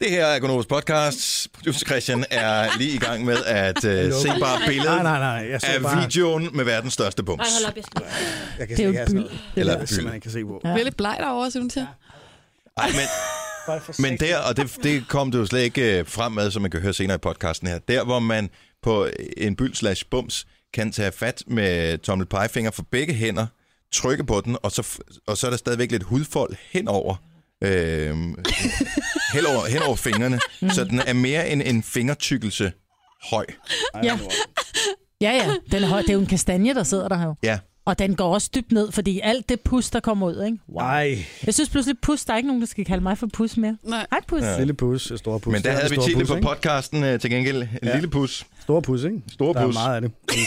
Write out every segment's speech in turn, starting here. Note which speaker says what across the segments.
Speaker 1: Det her er Gonovas podcast. Producer Christian er lige i gang med at øh,
Speaker 2: Hallo.
Speaker 1: se bare billedet
Speaker 2: Nej, nej, nej. Jeg, så
Speaker 1: af
Speaker 2: bare,
Speaker 1: videoen med verdens største bums.
Speaker 3: Ej, hold op, jeg skal...
Speaker 2: jeg kan slet
Speaker 4: Det er jo
Speaker 2: ikke have sådan
Speaker 4: byld.
Speaker 2: noget.
Speaker 1: Eller
Speaker 2: Jeg simpelthen ikke kan se på.
Speaker 4: Ja.
Speaker 5: Du er lidt bleg derovre, siger hun til.
Speaker 1: Ej, men,
Speaker 2: Bare
Speaker 1: men der, og det, det kom du jo slet ikke øh, frem med, som man kan høre senere i podcasten her, der hvor man på en byld slash bums kan tage fat med tommel pegefinger for begge hænder, trykke på den, og så, f- og så er der stadigvæk lidt hudfold henover, øh, henover, henover fingrene,
Speaker 3: Mm.
Speaker 1: så den er mere end en fingertykkelse høj.
Speaker 4: Ja. Ja, ja. Den er høj. Det er jo en kastanje, der sidder der her. jo.
Speaker 1: Ja.
Speaker 4: Og den går også dybt ned, fordi alt det pus, der kommer ud, ikke?
Speaker 2: Nej,
Speaker 4: Jeg synes pludselig, pus, der er ikke nogen, der skal kalde mig for pus mere.
Speaker 5: Nej.
Speaker 4: Hej, pus. Ja.
Speaker 2: lille pus, store pus.
Speaker 1: Men der
Speaker 2: Det er
Speaker 1: havde
Speaker 2: det
Speaker 1: vi
Speaker 2: store
Speaker 1: titlen
Speaker 2: pus,
Speaker 1: på
Speaker 2: ikke?
Speaker 1: podcasten øh, til gengæld. En
Speaker 2: Ja. Mm.
Speaker 1: lille pus.
Speaker 2: Store pus, ikke?
Speaker 1: Store
Speaker 2: Der
Speaker 1: pus.
Speaker 2: er meget af det. kan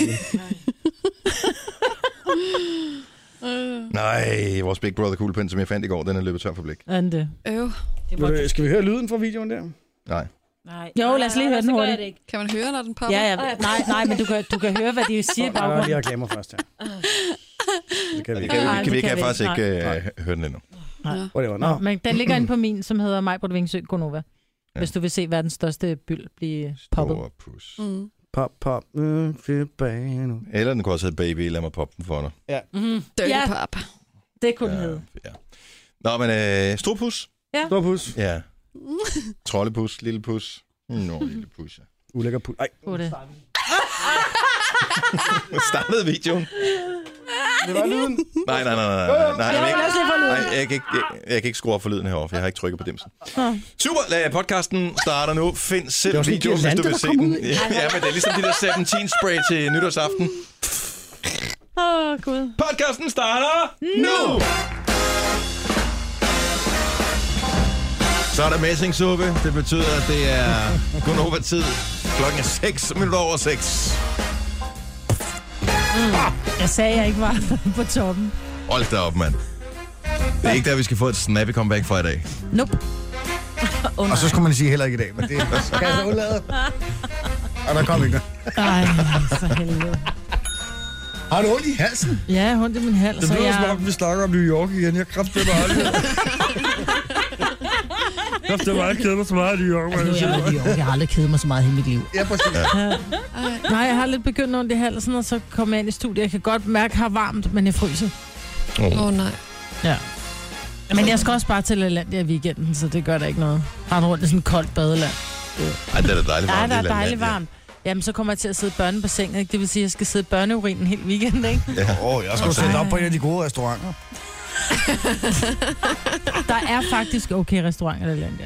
Speaker 2: man sige.
Speaker 1: Nej, vores Big Brother kuglepen, som jeg fandt i går, den er løbet tør for blik.
Speaker 4: End det.
Speaker 5: Øv.
Speaker 3: Det
Speaker 2: Vil du- Skal vi høre lyden fra videoen der?
Speaker 1: Nej.
Speaker 3: Nej.
Speaker 4: Jo, lad os lige høre den
Speaker 3: så gør
Speaker 4: hurtigt.
Speaker 3: jeg det ikke.
Speaker 5: Kan man høre, når den popper?
Speaker 4: Ja, ja. Nej, nej, men du kan, du kan høre, hvad de siger i
Speaker 2: Der er lige
Speaker 4: baggrunden.
Speaker 2: reklamer først her. Det kan vi
Speaker 1: Det
Speaker 2: ikke.
Speaker 1: kan,
Speaker 4: Nej,
Speaker 1: vi, kan vi
Speaker 4: det
Speaker 1: ikke have
Speaker 4: kan vi
Speaker 1: faktisk
Speaker 4: ikke.
Speaker 1: ikke øh, høre den endnu.
Speaker 2: Whatever. Nå,
Speaker 4: Nå, men den ligger inde på min, som hedder Majbrit Vingsø Gonova.
Speaker 1: Ja.
Speaker 4: Hvis du vil se verdens største byld blive poppet.
Speaker 1: Store pus.
Speaker 5: Mm.
Speaker 2: pop, pop, øh, tilbage nu.
Speaker 1: Eller den kunne også hedde Baby, lad mig poppe den for dig.
Speaker 4: Mm,
Speaker 5: Dirty
Speaker 4: ja,
Speaker 5: pop.
Speaker 4: det kunne den hedde.
Speaker 1: ja. Nå, men øh, stor pus.
Speaker 2: Stor pus.
Speaker 1: Ja. Trollepus, lille pus. Nå, lille pus, ja.
Speaker 2: Ulækker pus. Ej,
Speaker 4: Kunne det.
Speaker 1: Nu startede videoen.
Speaker 2: det var lyden.
Speaker 1: Nej, nej, nej, nej, nej, nej.
Speaker 4: Jeg
Speaker 1: Jeg,
Speaker 4: vil
Speaker 1: jeg,
Speaker 4: også lige få lyden.
Speaker 1: jeg, jeg, kan ikke, jeg, jeg kan ikke skrue op for lyden herovre, for jeg har ikke trykket på dimsen. Super, lad podcasten starter nu.
Speaker 2: Det
Speaker 1: Find
Speaker 2: var
Speaker 1: selv
Speaker 2: sådan
Speaker 1: videoen, hvis
Speaker 2: girlande,
Speaker 1: du vil
Speaker 2: der
Speaker 1: se
Speaker 2: kom
Speaker 1: den.
Speaker 2: ud.
Speaker 1: Ja, men det er ligesom de der 17 spray til nytårsaften.
Speaker 4: Åh, oh, Gud.
Speaker 1: Podcasten starter nu! Så er der messingsuppe. Det betyder, at det er kun over tid. Klokken er 6 minutter over 6.
Speaker 4: Jeg sagde, jeg ikke var på toppen.
Speaker 1: Hold da op, mand. Det er ikke der, vi skal få et snappy comeback fra i dag.
Speaker 4: Nope.
Speaker 6: Og så skulle man sige heller ikke i dag, men det kan jeg så undlade. Og der kom ikke noget.
Speaker 4: Ej, så helvede.
Speaker 6: Har du ondt i halsen?
Speaker 4: Ja, hun i min hals.
Speaker 6: Det
Speaker 4: og
Speaker 6: lyder som
Speaker 4: jeg...
Speaker 6: om, vi snakker om New York igen. Jeg kræfter mig aldrig. Kræfter mig aldrig kæder mig så meget i New York.
Speaker 4: Nu er jeg i New York. Jeg har aldrig kedet mig så meget i hele mit liv.
Speaker 6: Ja, præcis.
Speaker 4: Nej, jeg har lidt begyndt ondt i halsen, og så kom jeg ind i studiet. Jeg kan godt mærke, at jeg har varmt, men jeg fryser.
Speaker 5: Åh, oh, nej.
Speaker 4: Men jeg skal også bare til Lalandia i weekenden, så det gør da ikke noget. Rende rundt i sådan et koldt badeland.
Speaker 1: Ej, det er da dejligt
Speaker 4: Ja,
Speaker 1: varmt.
Speaker 4: der er
Speaker 1: det land,
Speaker 4: dejligt
Speaker 1: ja.
Speaker 4: varmt. Jamen, så kommer jeg til at sidde i børnebassinet, ikke? Det vil sige, at jeg skal sidde i børneurinen hele weekenden, ikke?
Speaker 6: Åh, oh, jeg skulle sætte op på en af de gode restauranter.
Speaker 4: Der er faktisk okay restauranter i Lalandia.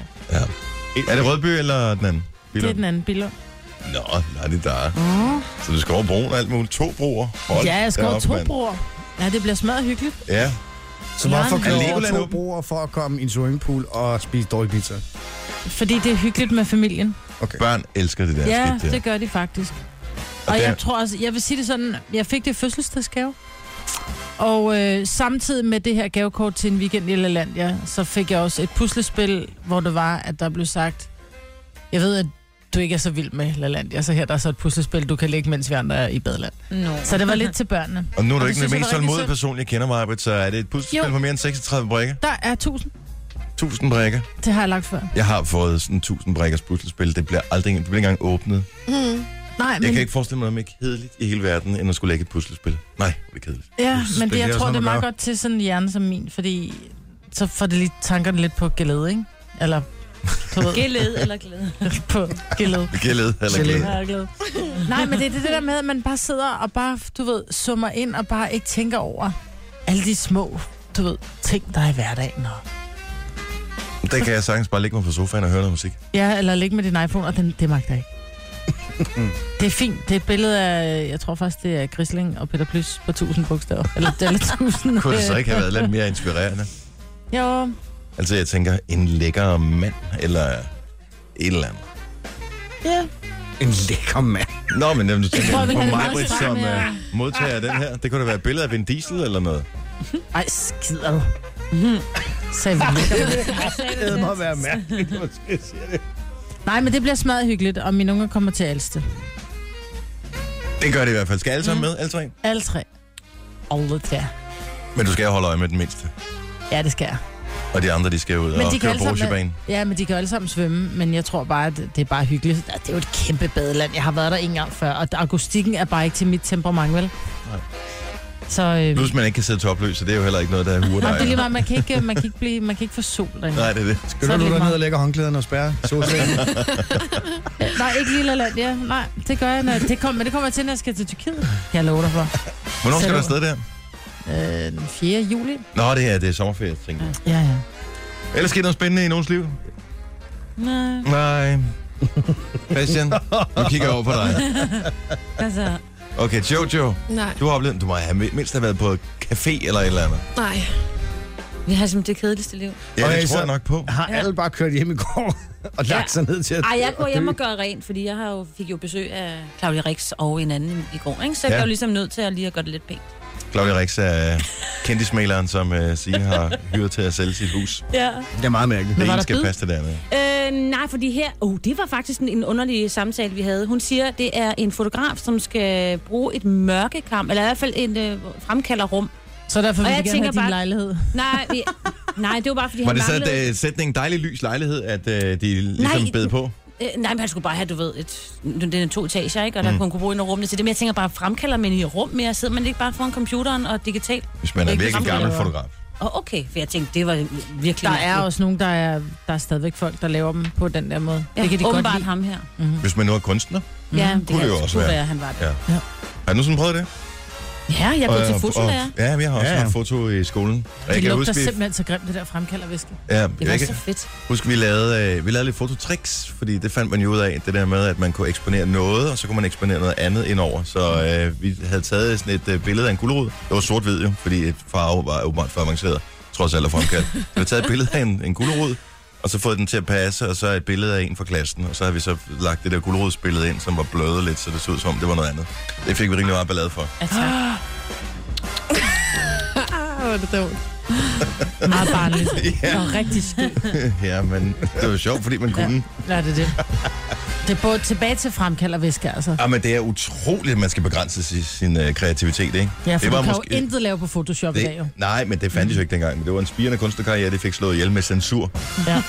Speaker 1: Er det Rødby eller den anden?
Speaker 4: Det er den anden billede.
Speaker 1: Nå, nej, det er der. Så du skal over broen og alt muligt. To broer. Hold
Speaker 4: Ja, jeg skal over
Speaker 1: deroppe,
Speaker 4: to
Speaker 1: mand.
Speaker 4: bror. Ja, det bliver smadret hyggeligt.
Speaker 1: Ja,
Speaker 6: Så hvorfor
Speaker 4: Langt.
Speaker 6: kan
Speaker 1: Er
Speaker 6: du over
Speaker 1: Legoland
Speaker 6: to
Speaker 1: åben?
Speaker 6: broer for at komme i en swimmingpool og spise dårlig pizza?
Speaker 4: Fordi det er hyggeligt med familien.
Speaker 1: børn elsker det der
Speaker 4: Ja,
Speaker 1: skidt der.
Speaker 4: det gør de faktisk.
Speaker 1: Og
Speaker 4: Og
Speaker 1: der-
Speaker 4: jeg tror også, jeg vil sige det sådan, jeg fik det i fødselsdagsgave. Og øh, samtidig med det her gavekort til en weekend i Laland, ja, så fik jeg også et puslespil, hvor det var, at der blev sagt, jeg ved, at du ikke er så vild med Lalandia, så her der er så et puslespil, du kan lægge, mens vi andre er i badeland.
Speaker 3: Nå.
Speaker 4: Så det var lidt til børnene.
Speaker 1: Og nu er du
Speaker 4: Og det
Speaker 1: ikke den
Speaker 4: synes jeg
Speaker 1: mest
Speaker 4: var rigtig
Speaker 1: tålmodige
Speaker 4: synd.
Speaker 1: person, jeg kender mig, Britt, så er det et puslespil
Speaker 4: Jo.
Speaker 1: på mere end 36 brækker.
Speaker 4: Der er 1000.
Speaker 1: 1000 brækker.
Speaker 4: Det har jeg lagt før.
Speaker 1: Jeg har fået sådan 1000 brækkers puslespil. Det bliver aldrig det bliver ikke engang åbnet.
Speaker 4: Mm. Nej,
Speaker 1: Jeg
Speaker 4: men,
Speaker 1: kan ikke forestille mig noget mere kedeligt i hele verden, end at skulle lægge et puslespil. Nej, hvor er det kedeligt.
Speaker 4: ja, men
Speaker 6: puslespil,
Speaker 4: det,
Speaker 6: det
Speaker 4: jeg
Speaker 6: er
Speaker 4: tror,
Speaker 6: sådan
Speaker 4: det er
Speaker 6: noget,
Speaker 4: meget
Speaker 6: der-
Speaker 4: godt til sådan en hjerne som min, fordi så får det lige tankerne lidt på gelede, ikke? Eller, du ved,
Speaker 3: Gæled eller glæde.
Speaker 4: på gelede.
Speaker 1: Gældet
Speaker 6: Gelé.
Speaker 1: eller gældet.
Speaker 4: Ja, jeg er glad. Nej, men det er det der med, at man bare sidder og bare, du ved, summer ind og bare ikke tænker over alle de små, du ved, ting, der er i hverdagen. Og...
Speaker 1: Der kan jeg sagtens bare ligge mig på sofaen og høre noget musik.
Speaker 4: Ja, eller ligge med din iPhone, og den, det magter jeg ikke. Det er fint. Det er et billede af, jeg tror faktisk, det er Grisling og Peter Plys på 1000 bogstaver. Eller, eller 1000.
Speaker 1: Kunne det så
Speaker 4: øh,
Speaker 1: ikke have været lidt mere inspirerende?
Speaker 4: Jo,
Speaker 1: Altså, jeg tænker, en lækker mand eller et eller andet.
Speaker 4: ja.
Speaker 6: En lækker mand.
Speaker 1: Nå, men jamen, du tænker
Speaker 4: tror, jeg vil
Speaker 1: på
Speaker 4: have det
Speaker 1: mig,
Speaker 4: meget
Speaker 1: Britt,
Speaker 4: stramt
Speaker 1: som
Speaker 4: med
Speaker 1: uh, modtager af den her. Det kunne da være et billede af Vin Diesel eller noget.
Speaker 4: Ej, skider du. Mhm. Sagde vi lækker.
Speaker 6: Det må være mærkeligt, måske jeg siger det.
Speaker 4: Nej, men det bliver smadret hyggeligt, og mine unger kommer til Alste.
Speaker 1: Det gør det i hvert fald. Skal alle
Speaker 4: Mm.
Speaker 1: sammen med? Alle tre?
Speaker 4: Alle tre. Alle tre.
Speaker 1: Men du skal holde øje med den mindste.
Speaker 4: Ja, det skal jeg.
Speaker 1: Og de andre, de skal ud
Speaker 4: Men
Speaker 1: og
Speaker 4: de kan
Speaker 1: køre
Speaker 4: alle sammen-
Speaker 1: brusjebane.
Speaker 4: Ja, men de kan alle sammen svømme, men jeg tror bare, at det er bare hyggeligt. Det er jo et kæmpe badeland. Jeg har været der en gang før, og akustikken er bare ikke til mit temperament, vel?
Speaker 1: Nej.
Speaker 4: Så øh,
Speaker 1: Plus, man ikke kan sidde topløs, så det er jo heller ikke noget, der er huer
Speaker 4: nej, det er lige
Speaker 1: dig.
Speaker 4: meget, man kan ikke, øh, man kan ikke, blive, man kan ikke få sol derinde.
Speaker 1: Nej, det er det.
Speaker 4: Så er
Speaker 6: Skynder
Speaker 4: det
Speaker 6: du dig
Speaker 4: meget.
Speaker 6: ned og lægger håndklæderne og spærrer solsængen?
Speaker 4: Øh, Nej, ikke lille land, ja. Nej, det gør jeg, når det kom, men det kommer jeg til, når jeg skal til Tyrkiet. Kan jeg love dig for.
Speaker 1: Hvornår skal
Speaker 4: Sæt
Speaker 1: du
Speaker 4: over.
Speaker 1: afsted der?
Speaker 4: Øh, den 4. juli.
Speaker 1: Nå, det er, det er sommerferie, tænker jeg.
Speaker 4: Ja, ja.
Speaker 1: Ellers sker der noget spændende i nogens liv?
Speaker 4: Nej,
Speaker 1: Nej. Christian, nu kigger jeg over på dig.
Speaker 4: altså,
Speaker 1: Okay, Jojo,
Speaker 5: Nej,
Speaker 1: du har oplevet, du må have mindst have været på café eller et eller andet.
Speaker 5: nej.
Speaker 3: Vi har simpelthen det kedeligste liv.
Speaker 1: Ja,
Speaker 6: Okay,
Speaker 1: det tror
Speaker 6: så-
Speaker 1: jeg nok på.
Speaker 6: Har alle bare kørt hjem i går og lagt
Speaker 3: Ja.
Speaker 6: sig ned til at
Speaker 3: Ej, jeg går
Speaker 6: at
Speaker 3: hjem
Speaker 6: dø?
Speaker 3: og gør rent, fordi jeg har jo, fik jo besøg af Claudia Rix og en anden i går, ikke? Så jeg
Speaker 1: Ja.
Speaker 3: er jo ligesom nødt til at lige at gøre det lidt pænt.
Speaker 1: Claudia Rix er kendismaleren, som uh, Signe har hyret til at sælge sit hus.
Speaker 3: Ja.
Speaker 6: Det er meget mærkeligt.
Speaker 1: Det
Speaker 3: var
Speaker 1: ene
Speaker 3: der
Speaker 1: skal
Speaker 3: bid?
Speaker 1: passe det dernede.
Speaker 3: Øh, nej, fordi her... Oh, det var faktisk en, en underlig samtale, vi havde. Hun siger, det er en fotograf, som skal bruge et mørkekam, eller i hvert fald en øh, fremkalderrum.
Speaker 4: så derfor vil
Speaker 3: Og
Speaker 4: jeg
Speaker 3: jeg
Speaker 4: gerne
Speaker 3: tænker
Speaker 4: have din
Speaker 3: bare-
Speaker 4: lejlighed.
Speaker 3: Nej, vi, nej, det var bare, fordi
Speaker 1: Var
Speaker 3: han
Speaker 1: det så
Speaker 3: manglede...
Speaker 1: et uh, sætning dejlig lys lejlighed, at uh, de ligesom
Speaker 3: Nej.
Speaker 1: bed på?
Speaker 3: Øh, nej, men han skulle bare have, du ved, et, den er to etager, ikke? Og der mm. kunne han kunne bruge en af rummene til det. Men jeg tænker bare, fremkalder man i rum mere? Sidder man ikke bare foran computeren og digitalt?
Speaker 1: Hvis man er
Speaker 3: Ikke
Speaker 1: virkelig
Speaker 3: som
Speaker 1: gammel
Speaker 4: fotografer.
Speaker 1: fotograf.
Speaker 3: Og okay, for jeg tænkte, det var virkelig...
Speaker 4: Der er
Speaker 3: mærkeligt.
Speaker 4: også nogen, der er, der er stadigvæk folk, der laver dem på den der måde.
Speaker 3: Ja,
Speaker 4: det kan de godt
Speaker 3: åbenbart
Speaker 4: lide.
Speaker 3: ham her.
Speaker 1: Hvis man nu er kunstner.
Speaker 3: Mm. Ja, det
Speaker 1: Kunne det jo
Speaker 3: altså
Speaker 1: også
Speaker 3: godt
Speaker 1: være.
Speaker 3: han var det.
Speaker 1: Ja.
Speaker 3: Ja,
Speaker 1: Har du nogensinde prøvet det?
Speaker 3: jeg blev til
Speaker 1: og,
Speaker 3: fotolærer.
Speaker 1: ja, men jeg har også
Speaker 6: Ja,
Speaker 1: ja,
Speaker 6: ja.
Speaker 1: haft foto i skolen. Og
Speaker 4: Det
Speaker 1: jeg kan
Speaker 4: lugter
Speaker 1: huske, vi,
Speaker 4: simpelthen så grimt, det der fremkaldervæske.
Speaker 1: ja,
Speaker 3: Det var
Speaker 1: jeg
Speaker 3: så
Speaker 1: kan
Speaker 3: fedt.
Speaker 1: huske, vi lavede, øh, vi lavede lidt fototricks, fordi det fandt man jo ud af, det der med, at man kunne eksponere noget, og så kunne man eksponere noget andet indover. Så øh, vi havde taget sådan et øh, billede af en gulerod. Det var sort-hvid jo, fordi et farve var åbenbart for avanceret, trods alt at fremkaldt. Så vi havde taget et billede af en, en gulerod, og så fået den til at passe, og så et billede af en fra klassen. Og så har vi så lagt det der gulerodsbillede ind, som var blødet lidt, så det så ud som om, det var noget andet. Det fik vi rimelig meget ballade for.
Speaker 3: Ja,
Speaker 4: Altså,
Speaker 3: tak.
Speaker 5: Ah, hvor er det dumt.
Speaker 4: Meget barnligt.
Speaker 1: Ja.
Speaker 4: Og rigtig skægt.
Speaker 1: Ja, men det var sjovt, fordi man kunne.
Speaker 4: Ja, det er det. Det er både tilbage til fremkaldervæske, altså.
Speaker 1: Ja, men det er utroligt, at man skal begrænse sin, sin uh, kreativitet, ikke?
Speaker 4: Ja, for
Speaker 1: det
Speaker 4: det du kan måske... jo intet lave på Photoshop det... i dag, jo. Mm.
Speaker 1: det, nej, men det fandtes jo ikke dengang. Men det var en spirende kunstnerkarriere, det fik slået ihjel med censur.
Speaker 4: Ja.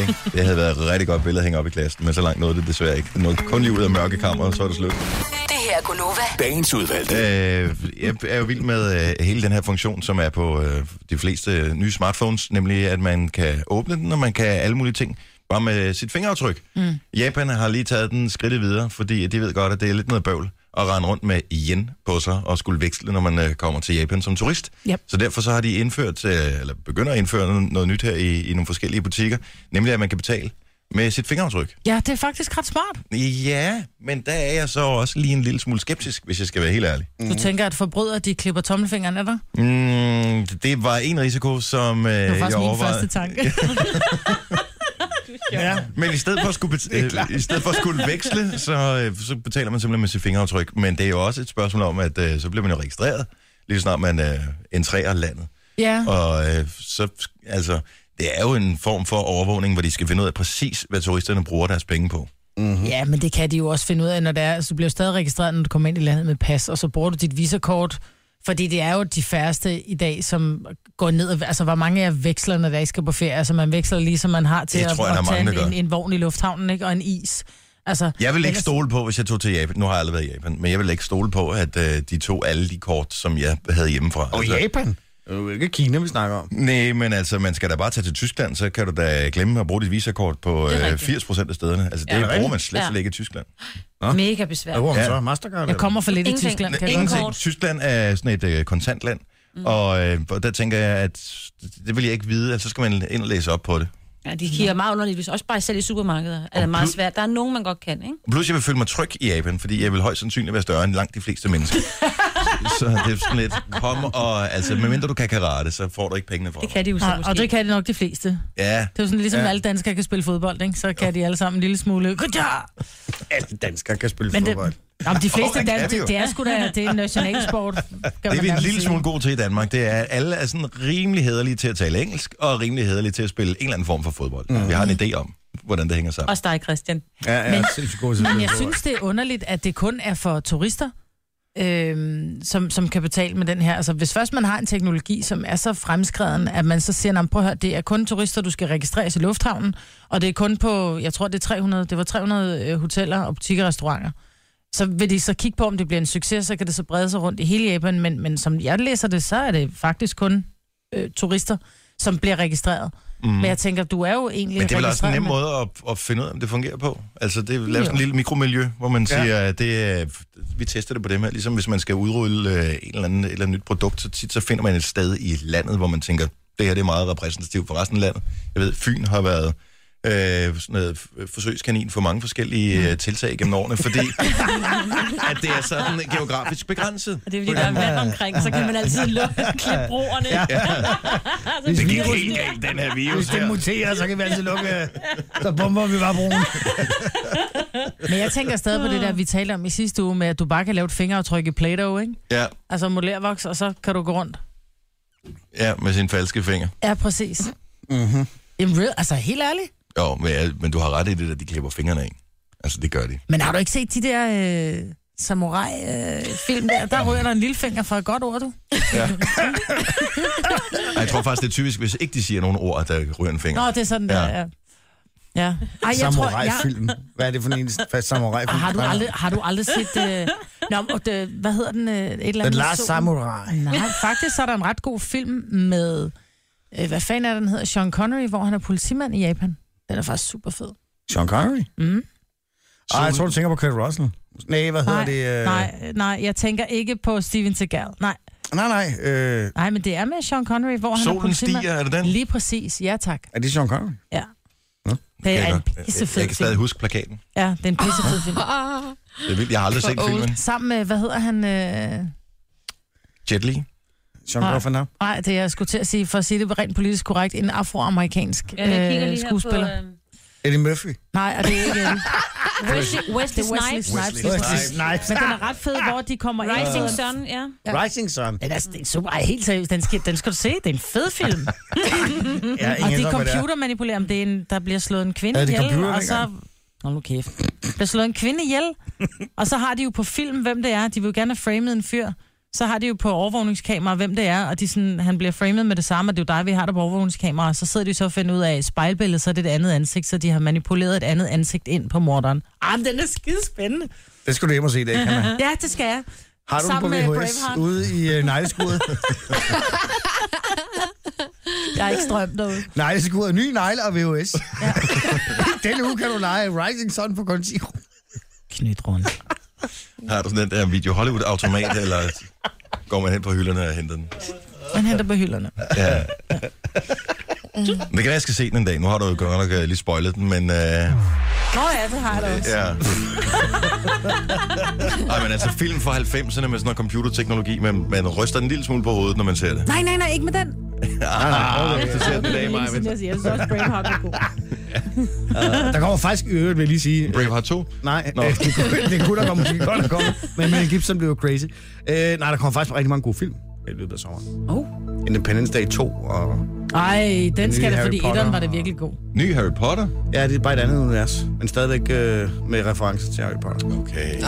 Speaker 1: Ikke? Det havde været et rigtig godt billede at hænge op i klassen, men så langt nåede det desværre ikke. Det nåede kun lige ud af mørkekammer, og så er det slut.
Speaker 7: Det her er Gunova.
Speaker 8: Dagens udvalgte.
Speaker 1: Øh, jeg er jo vild med øh, hele den her funktion, som er på øh, de fleste nye smartphones, nemlig at man kan åbne den, og man kan alle mulige ting, bare med sit fingeraftryk. Mm. Japan har lige taget den skridt videre, fordi de ved godt, at det er lidt noget bøvl at rende rundt med yen på sig og skulle veksle, når man øh, kommer til Japan som turist.
Speaker 4: Yep.
Speaker 1: Så derfor så har de indført, øh, eller begynder at indføre noget- noget nyt her i, i nogle forskellige butikker, nemlig at man kan betale med sit fingeraftryk.
Speaker 4: ja, det er faktisk ret smart.
Speaker 1: Ja, men der er jeg så også lige en lille smule skeptisk, hvis jeg skal være helt ærlig.
Speaker 4: Mm. Du tænker, at forbrydere, de klipper tommelfingeren af dig?
Speaker 1: Mm, det var en risiko, som øh,
Speaker 4: Det var
Speaker 1: jeg
Speaker 4: faktisk min
Speaker 1: overvejede.
Speaker 4: første tanke.
Speaker 6: Ja.
Speaker 1: Men i stedet for at skulle, bet-
Speaker 6: er
Speaker 1: øh,
Speaker 6: klart.
Speaker 1: i stedet for at skulle veksle, så, øh, så betaler man simpelthen med sit fingeraftryk. Men det er jo også et spørgsmål om, at øh, så bliver man jo registreret, lige så snart man øh, entrerer landet.
Speaker 4: ja.
Speaker 1: Og øh, så, altså, det er jo en form for overvågning, hvor de skal finde ud af præcis, hvad turisterne bruger deres penge på.
Speaker 4: ja, men det kan de jo også finde ud af, når det er. Så du bliver jo stadig registreret, når du kommer ind i landet med pas, og så bruger du dit visakort. Fordi det er jo de færreste i dag, som går ned og... Altså, hvor mange af veksler, når der I skal på ferie? Altså, man veksler lige, som man har til
Speaker 1: Det
Speaker 4: at,
Speaker 1: tror jeg, der
Speaker 4: at
Speaker 1: er
Speaker 4: tage
Speaker 1: mange,
Speaker 4: en,
Speaker 1: der gør.
Speaker 4: en, en, vogn i lufthavnen, ikke? Og en is. Altså,
Speaker 1: Jeg vil ikke
Speaker 4: ellers-
Speaker 1: stole på, hvis jeg tog til Japan. Nu har jeg aldrig været i Japan, men jeg vil ikke stole på, at øh, de tog alle de kort, som jeg havde hjemmefra.
Speaker 6: Og
Speaker 1: Altså,
Speaker 6: Japan. Det er jo ikke Kina, vi snakker om.
Speaker 1: Nej, men altså, man skal da bare tage til Tyskland, så kan du da glemme at bruge dit visakort på
Speaker 3: Det er
Speaker 1: øh,
Speaker 3: rigtigt.
Speaker 1: 80 procent af stederne. Altså, det
Speaker 6: Ja, det er
Speaker 1: bruger
Speaker 6: rigtigt.
Speaker 1: man slet,
Speaker 3: Ja.
Speaker 1: slet ikke i Tyskland.
Speaker 3: Mega
Speaker 6: Hvad
Speaker 3: besværligt.
Speaker 6: bruger man
Speaker 1: Ja.
Speaker 6: så? Mastercard?
Speaker 4: Jeg kommer for lidt i
Speaker 3: Ingenting.
Speaker 4: Tyskland, kan jeg godt
Speaker 1: Ingenting.
Speaker 3: kort.
Speaker 1: Tyskland er sådan et øh, kontantland, mm. og, øh, og der tænker jeg, at det vil jeg ikke vide, altså så skal man ind og læse op på det.
Speaker 3: Ja, de kigger meget underligt. Hvis også bare selv i supermarkeder er det meget
Speaker 1: plus-
Speaker 3: svært. Der er nogen, man godt kan, ikke?
Speaker 1: Plus, jeg vil føle mig tryg i Japan, fordi jeg vil højst sandsynligt være større end langt de fleste mennesker. så det er sådan lidt, kom og, altså, medmindre du kan karate, så får du ikke pengene fra
Speaker 3: Det
Speaker 1: mig.
Speaker 3: kan de jo så
Speaker 4: Og,
Speaker 3: måske.
Speaker 4: og det kan de nok de fleste.
Speaker 1: Ja,
Speaker 4: Det er jo sådan, ligesom
Speaker 1: Ja.
Speaker 4: ja. alle danskere kan spille fodbold, ikke? så kan de alle sammen en lille smule... Godja!
Speaker 6: Alle danskere kan spille
Speaker 4: Men det,
Speaker 6: fodbold.
Speaker 4: jamen, de
Speaker 1: Åh,
Speaker 4: fleste
Speaker 1: det
Speaker 4: oh,
Speaker 1: kan
Speaker 4: danskere,
Speaker 1: vi jo.
Speaker 4: det, det er sgu da det er en nationalsport. kan man
Speaker 1: Det er vi en
Speaker 4: nærmest
Speaker 1: lille
Speaker 4: sige.
Speaker 1: smule gode til i Danmark, det er, at alle er sådan rimelig hederlige til at tale engelsk, og rimelig hederlige til at spille en eller anden form for fodbold. Mm. Vi har en idé om, hvordan det hænger sammen.
Speaker 3: Også dig, Christian.
Speaker 6: Ja, ja,
Speaker 4: Men-
Speaker 6: sindssygt gode til at
Speaker 4: Men
Speaker 6: spille
Speaker 4: jeg
Speaker 6: fodbold.
Speaker 4: synes, det er underligt, at det kun er for turister. øhm, som, som kan betale med den her. Altså, hvis først man har en teknologi, som er så fremskreden, at man så siger, "Nå, men prøv at høre, det er kun turister, du skal registreres i lufthavnen, og det er kun på, jeg tror, det er 300, det var 300 øh, hoteller og butikker og restauranter. Så vil de så kigge på, om det bliver en succes, så kan det så brede sig rundt i hele Japan, men, men som jeg læser det, så er det faktisk kun øh, turister, som bliver registreret. Mm. Men jeg tænker, du er jo egentlig
Speaker 1: Mhm. Men det er vel også en
Speaker 4: registreret,
Speaker 1: nem
Speaker 4: men-
Speaker 1: måde at, at finde ud af, om det fungerer på. Altså, det er lavet sådan
Speaker 4: Jo.
Speaker 1: et lille mikromiljø, hvor man
Speaker 6: Ja.
Speaker 1: ja. siger, at det, er- vi tester det på dem her. Ligesom hvis man skal udrulle øh, en eller anden, et eller andet nyt produkt, så tit så finder man et sted i landet, hvor man tænker, det her det er meget repræsentativt for resten af landet. Jeg ved, Fyn har været øh, sådan noget f- forsøgskanin for mange
Speaker 3: Mm.
Speaker 1: forskellige øh, tiltag gennem årene, fordi at det er sådan geografisk begrænset.
Speaker 3: Og det er fordi, der er vand omkring, så kan man altid lukke klippe broerne. Ja.
Speaker 1: Det gik helt galt, den her virus
Speaker 6: Hvis det
Speaker 1: her.
Speaker 6: muterer, så kan vi altid lukke... øh, Så bomber vi bare broen.
Speaker 4: Men jeg tænker stadig på det der, vi talte om i sidste uge, med at du bare kan lave et fingeraftryk i Play-Doh, ikke?
Speaker 1: Ja,
Speaker 4: Altså modellervoks, og så kan du gå rundt.
Speaker 1: ja, med sine falske fingre.
Speaker 4: Ja, præcis. Mm-hmm. Real, altså helt ærligt.
Speaker 1: Jo, men, jeg- men du har ret i det, at de klipper fingrene af. Altså, det gør de.
Speaker 4: Men har du ikke set de der øh, samurai-film der? Der ryger der en lille finger fra et godt ord, du.
Speaker 1: Ej, jeg tror faktisk, det er typisk, hvis ikke de siger nogle ord, der ryger en finger.
Speaker 4: Nå, det er sådan der,
Speaker 1: Ja.
Speaker 4: ja. Ja. Ej, jeg tror, jeg,
Speaker 6: Samurai-film. Hvad er det for en fast samurai-film?
Speaker 4: har, du aldrig, har du aldrig set... Øh, nå, og det, hvad hedder den? Øh, et eller andet
Speaker 6: The
Speaker 4: med
Speaker 6: Last
Speaker 4: solen?
Speaker 6: Samurai.
Speaker 4: Nej, faktisk så er der en ret god film med... Øh, hvad fanden er den hedder? Sean Connery, hvor han er politimand i Japan. Den er faktisk super fed.
Speaker 6: Sean Connery?
Speaker 4: Mm.
Speaker 6: Ej, jeg tror, du tænker på Kurt Russell. Nej, hvad hedder
Speaker 4: Nej,
Speaker 6: det? øh,
Speaker 4: Nej, nej, jeg tænker ikke på Steven Seagal. Nej,
Speaker 6: Nej, nej. Øh,
Speaker 4: nej, men det er med Sean Connery, hvor han er
Speaker 1: Solen
Speaker 4: politimand.
Speaker 1: stiger, er det den?
Speaker 4: Lige præcis, ja tak.
Speaker 6: er det Sean Connery?
Speaker 4: Ja.
Speaker 6: Nå,
Speaker 4: Det
Speaker 1: jeg,
Speaker 4: er en
Speaker 1: godt- jeg,
Speaker 4: pissefed
Speaker 1: jeg kan stadig
Speaker 4: film.
Speaker 1: huske plakaten.
Speaker 4: Ja, det er en pissefed film.
Speaker 5: Ah,
Speaker 1: Det er vildt, jeg har aldrig
Speaker 5: For
Speaker 1: set
Speaker 5: old.
Speaker 1: filmen.
Speaker 4: Sammen med, hvad hedder han? Øh...
Speaker 1: Jet Li.
Speaker 6: Sean
Speaker 4: Nej.
Speaker 6: Connery?
Speaker 4: Nej, det er jeg skulle til at sige, for at sige det rent politisk korrekt, en afroamerikansk
Speaker 3: Ja, jeg kigger
Speaker 4: øh,
Speaker 3: lige
Speaker 4: skuespiller.
Speaker 3: her
Speaker 4: På,
Speaker 3: på... Øh...
Speaker 6: Eddie Murphy?
Speaker 4: Nej, og det er ikke... øh,
Speaker 3: Wesley, Wesley
Speaker 4: Det er Wesley
Speaker 3: Snipes.
Speaker 4: Snipes.
Speaker 1: Wesley
Speaker 4: Wesley
Speaker 1: Snipes.
Speaker 4: Snipes. Men den er ret fed, hvor de kommer ind.
Speaker 3: Rising
Speaker 4: og-
Speaker 3: Sun, ja.
Speaker 4: Ja.
Speaker 6: Rising Sun.
Speaker 4: Den er, Mm-hmm. det er en super. Ej, helt seriøst, den skal, den skal du se. Det er en fed film.
Speaker 6: Ja, ingen
Speaker 4: Og de
Speaker 6: idé om, hvad det er.
Speaker 4: computermanipulerer, om det er en, der bliver slået en kvinde
Speaker 6: Ja, det er
Speaker 4: ihjel,
Speaker 6: computer
Speaker 4: og så... Nå, nu kæft. Bliver slået en kvinde ihjel, og så har de jo på film, hvem det er. De vil jo gerne have framet en fyr. Så har de jo på overvågningskamera, hvem det er, og de sådan, han bliver framet med det samme, og det er jo dig, vi har der på overvågningskamera. Og så sidder de så og finder ud af, at i spejlbilledet, så er det et andet ansigt, så de har manipuleret et andet ansigt ind på morderen. Ah, men den er skidespændende.
Speaker 6: Det skal du E hjem og se i dag, kan man.
Speaker 4: Ja, det skal jeg.
Speaker 6: Har du den på
Speaker 4: Sammen med
Speaker 6: VHS
Speaker 4: Braveheart.
Speaker 6: ude i uh, negleskuret?
Speaker 4: Jeg har ikke strømt derude.
Speaker 6: negleskuret, ny negle og VHS. Denne uge kan du lege Rising Sun på kun 10
Speaker 4: Ah,
Speaker 6: kroner.
Speaker 4: Knyt rundt.
Speaker 1: Har du sådan den der Video Hollywood-automat, eller går man hen på hylderne og henter den?
Speaker 4: Man henter på hylderne.
Speaker 1: Ja. Det kan være, jeg skal se den en dag. Nu har du jo godt nok øh, lige spoilet den, men... Øh,
Speaker 4: Nå ja, det har jeg da også.
Speaker 1: ja. Ej, men altså film fra 90'erne med sådan noget computerteknologi, man, man ryster en lille smule på hovedet, når man ser det.
Speaker 4: Nej, nej, nej, ikke med den.
Speaker 1: Ah, hvis du ser den i dag, Maja.
Speaker 4: Jeg synes også, Braveheart er god.
Speaker 6: Der kommer faktisk i øvrigt, vil jeg lige sige.
Speaker 1: Braveheart 2?
Speaker 6: Nej,
Speaker 1: Nå.
Speaker 6: øh, det, kunne, det kunne der komme måske godt at komme. Men Mel Gibson blev jo crazy. Øh, nej, der kommer faktisk rigtig mange gode film i løbet af sommeren.
Speaker 4: Oh.
Speaker 6: Independence Day 2 og...
Speaker 4: Ej, den
Speaker 6: nye
Speaker 4: skal da,
Speaker 6: Harry
Speaker 4: fordi
Speaker 6: Potter
Speaker 4: etteren var da
Speaker 6: og-
Speaker 4: virkelig god.
Speaker 1: Ny Harry Potter?
Speaker 6: Ja, det er bare et andet univers. Men stadigvæk øh, med reference til Harry Potter.
Speaker 1: Okay.